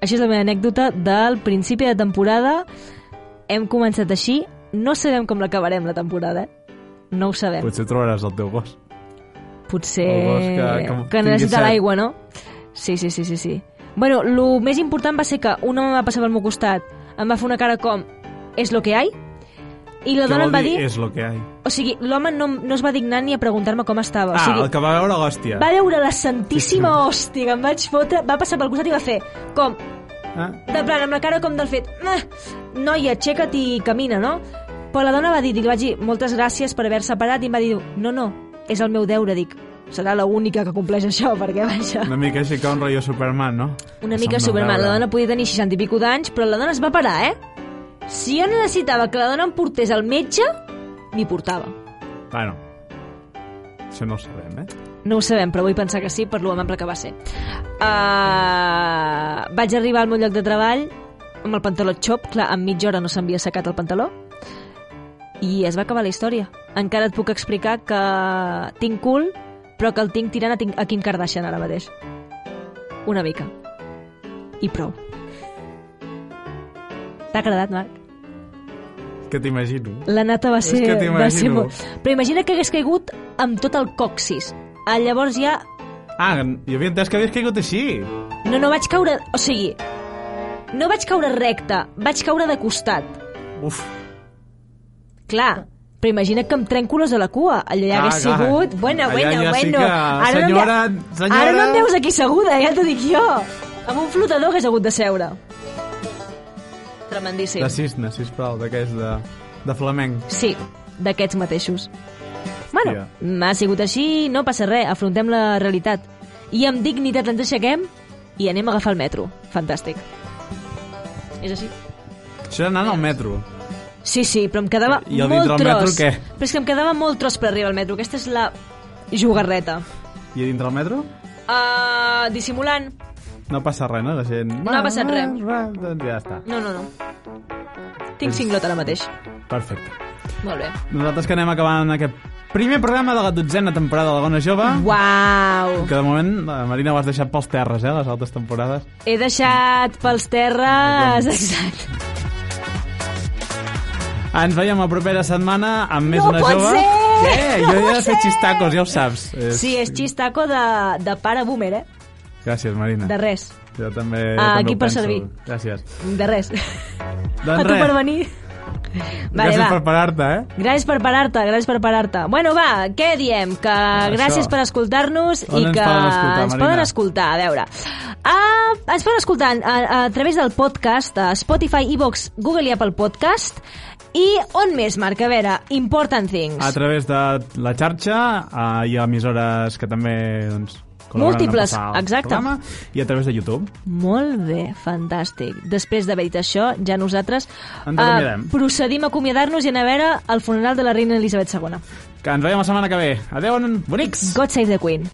S1: Això és la meva anècdota del principi de temporada. Hem començat així, no sabem com l'acabarem la temporada, eh? No ho sabem. Potser,
S2: Potser trobaràs el teu gos.
S1: Potser...
S2: el gos que- que
S1: que,
S2: tingui
S1: necessita
S2: set.
S1: l'aigua, no? Sí, sí, sí, sí, sí. Bueno, el més important va ser que un home va passar pel meu costat, em va fer una cara com és lo que hay, i la
S2: Què
S1: dona em
S2: vol
S1: va dir...
S2: dir? És lo que hay.
S1: O sigui, l'home no, no es va dignar ni a preguntar-me com estava.
S2: Ah,
S1: o sigui,
S2: el que va veure l'hòstia.
S1: va veure la santíssima hòstia que em vaig fotre, va passar pel costat i va fer com,
S2: Ah,
S1: de plan, amb la cara com del fet "Ah, noia, aixeca't i camina, no? Però la dona va dir, li vaig dir moltes gràcies per haver separat i em va dir no, no, és el meu deure, dic serà l'única que compleix això, perquè vaja
S2: una mica així com un rotllo Superman, no?
S1: una
S2: Se'm
S1: mica
S2: va
S1: Superman,
S2: veure.
S1: la dona podia tenir 60 i pico d'anys, però la dona es va parar, eh? Si jo necessitava que la dona em portés al metge, m'hi portava.
S2: Bueno, això no ho sabem, eh?
S1: No ho sabem, però vull pensar que sí per lo amable que va ser. Uh, vaig arribar al meu lloc de treball amb el pantaló xop, clar, en mitja hora no s'havia secat el pantaló, i es va acabar la història. Encara et puc explicar que tinc cul, però que el tinc tirant a, Tim- a Kim Kardashian ara mateix. Una mica. I prou. T'ha agradat, Marc?
S2: És que t'imagino.
S1: La nata va ser...
S2: que
S1: va ser
S2: t'imagino.
S1: molt... Però imagina que hagués caigut amb tot el coxis. Ah, llavors ja
S2: Ah, jo havia entès que havies caigut així.
S1: No, no vaig caure... O sigui, no vaig caure recte, vaig caure de costat.
S2: Uf,
S1: Clar, però imagina que em trenco l'os a la cua. Allò ja
S2: Clar,
S1: hagués
S2: clar.
S1: sigut... Bueno,
S2: Allà
S1: bueno,
S2: ja sí
S1: bueno.
S2: que-
S1: no em ve-
S2: Senyora, senyora.
S1: Ara no em veus aquí seguda, ja t'ho dic jo. Amb un flotador hagués hagut de seure. Tremendíssim.
S2: de cisne, sisplau, d'aquest de, de flamenc.
S1: Sí, d'aquests mateixos. Bueno,
S2: Hòstia.
S1: ha sigut així, no passa res, afrontem la realitat. I amb dignitat ens aixequem i anem a agafar el metro. Fantàstic. És així?
S2: Això era anant al metro.
S1: Sí, sí, però em quedava
S2: I el
S1: molt
S2: dintre del metro,
S1: tros.
S2: què?
S1: Però és que em quedava molt tros per arribar al metro. Aquesta és la jugarreta.
S2: I a dintre el metro
S1: Uh, dissimulant.
S2: no passa res, no? La gent...
S1: No ha passat res.
S2: Va, doncs ja està.
S1: No, no, no. Tinc cinglot ara mateix.
S2: Perfecte.
S1: Molt bé.
S2: Nosaltres que anem acabant aquest primer programa de la dotzena temporada de la Gona Jove,
S1: Uau!
S2: que de moment, eh, Marina, ho has deixat pels terres, eh, les altres temporades.
S1: He deixat pels terres... Exacte.
S2: Ens veiem la propera setmana amb més
S1: No
S2: Gona
S1: pot
S2: Jove.
S1: ser!
S2: Eh, jo ja he fet xistacos, ja ho saps. És...
S1: Sí, és xistaco de, de pare boomer, eh?
S2: Gràcies, Marina.
S1: De res.
S2: Jo també, jo
S1: Ah,
S2: també
S1: aquí
S2: ho
S1: per
S2: penso.
S1: servir.
S2: Gràcies.
S1: De res.
S2: Doncs
S1: A tu
S2: res,
S1: per venir. Vale,
S2: Gràcies
S1: va.
S2: per parar-te, eh?
S1: Gràcies per parar-te, gràcies per parar-te. Bueno, va, què diem? Que gràcies per escoltar-nos i
S2: On ens
S1: que
S2: poden escoltar,
S1: ens
S2: Marina?
S1: poden escoltar, a veure. Ah, ens poden escoltar a, a, través del podcast, a Spotify, iVox, Google i Apple Podcast. I on més, Marc? A veure, Important Things.
S2: A través de la xarxa eh, hi ha emissores que també doncs, col·laboren a
S1: Múltiples,
S2: passar el
S1: exacte.
S2: programa, I a través de YouTube.
S1: Molt bé, fantàstic. Després d'haver dit això, ja nosaltres eh,
S2: Ens acomiadem.
S1: procedim a acomiadar-nos i anar a veure el funeral de la reina Elisabet II.
S2: Que ens veiem la setmana que ve. Adéu, bonics!
S1: God save the Queen.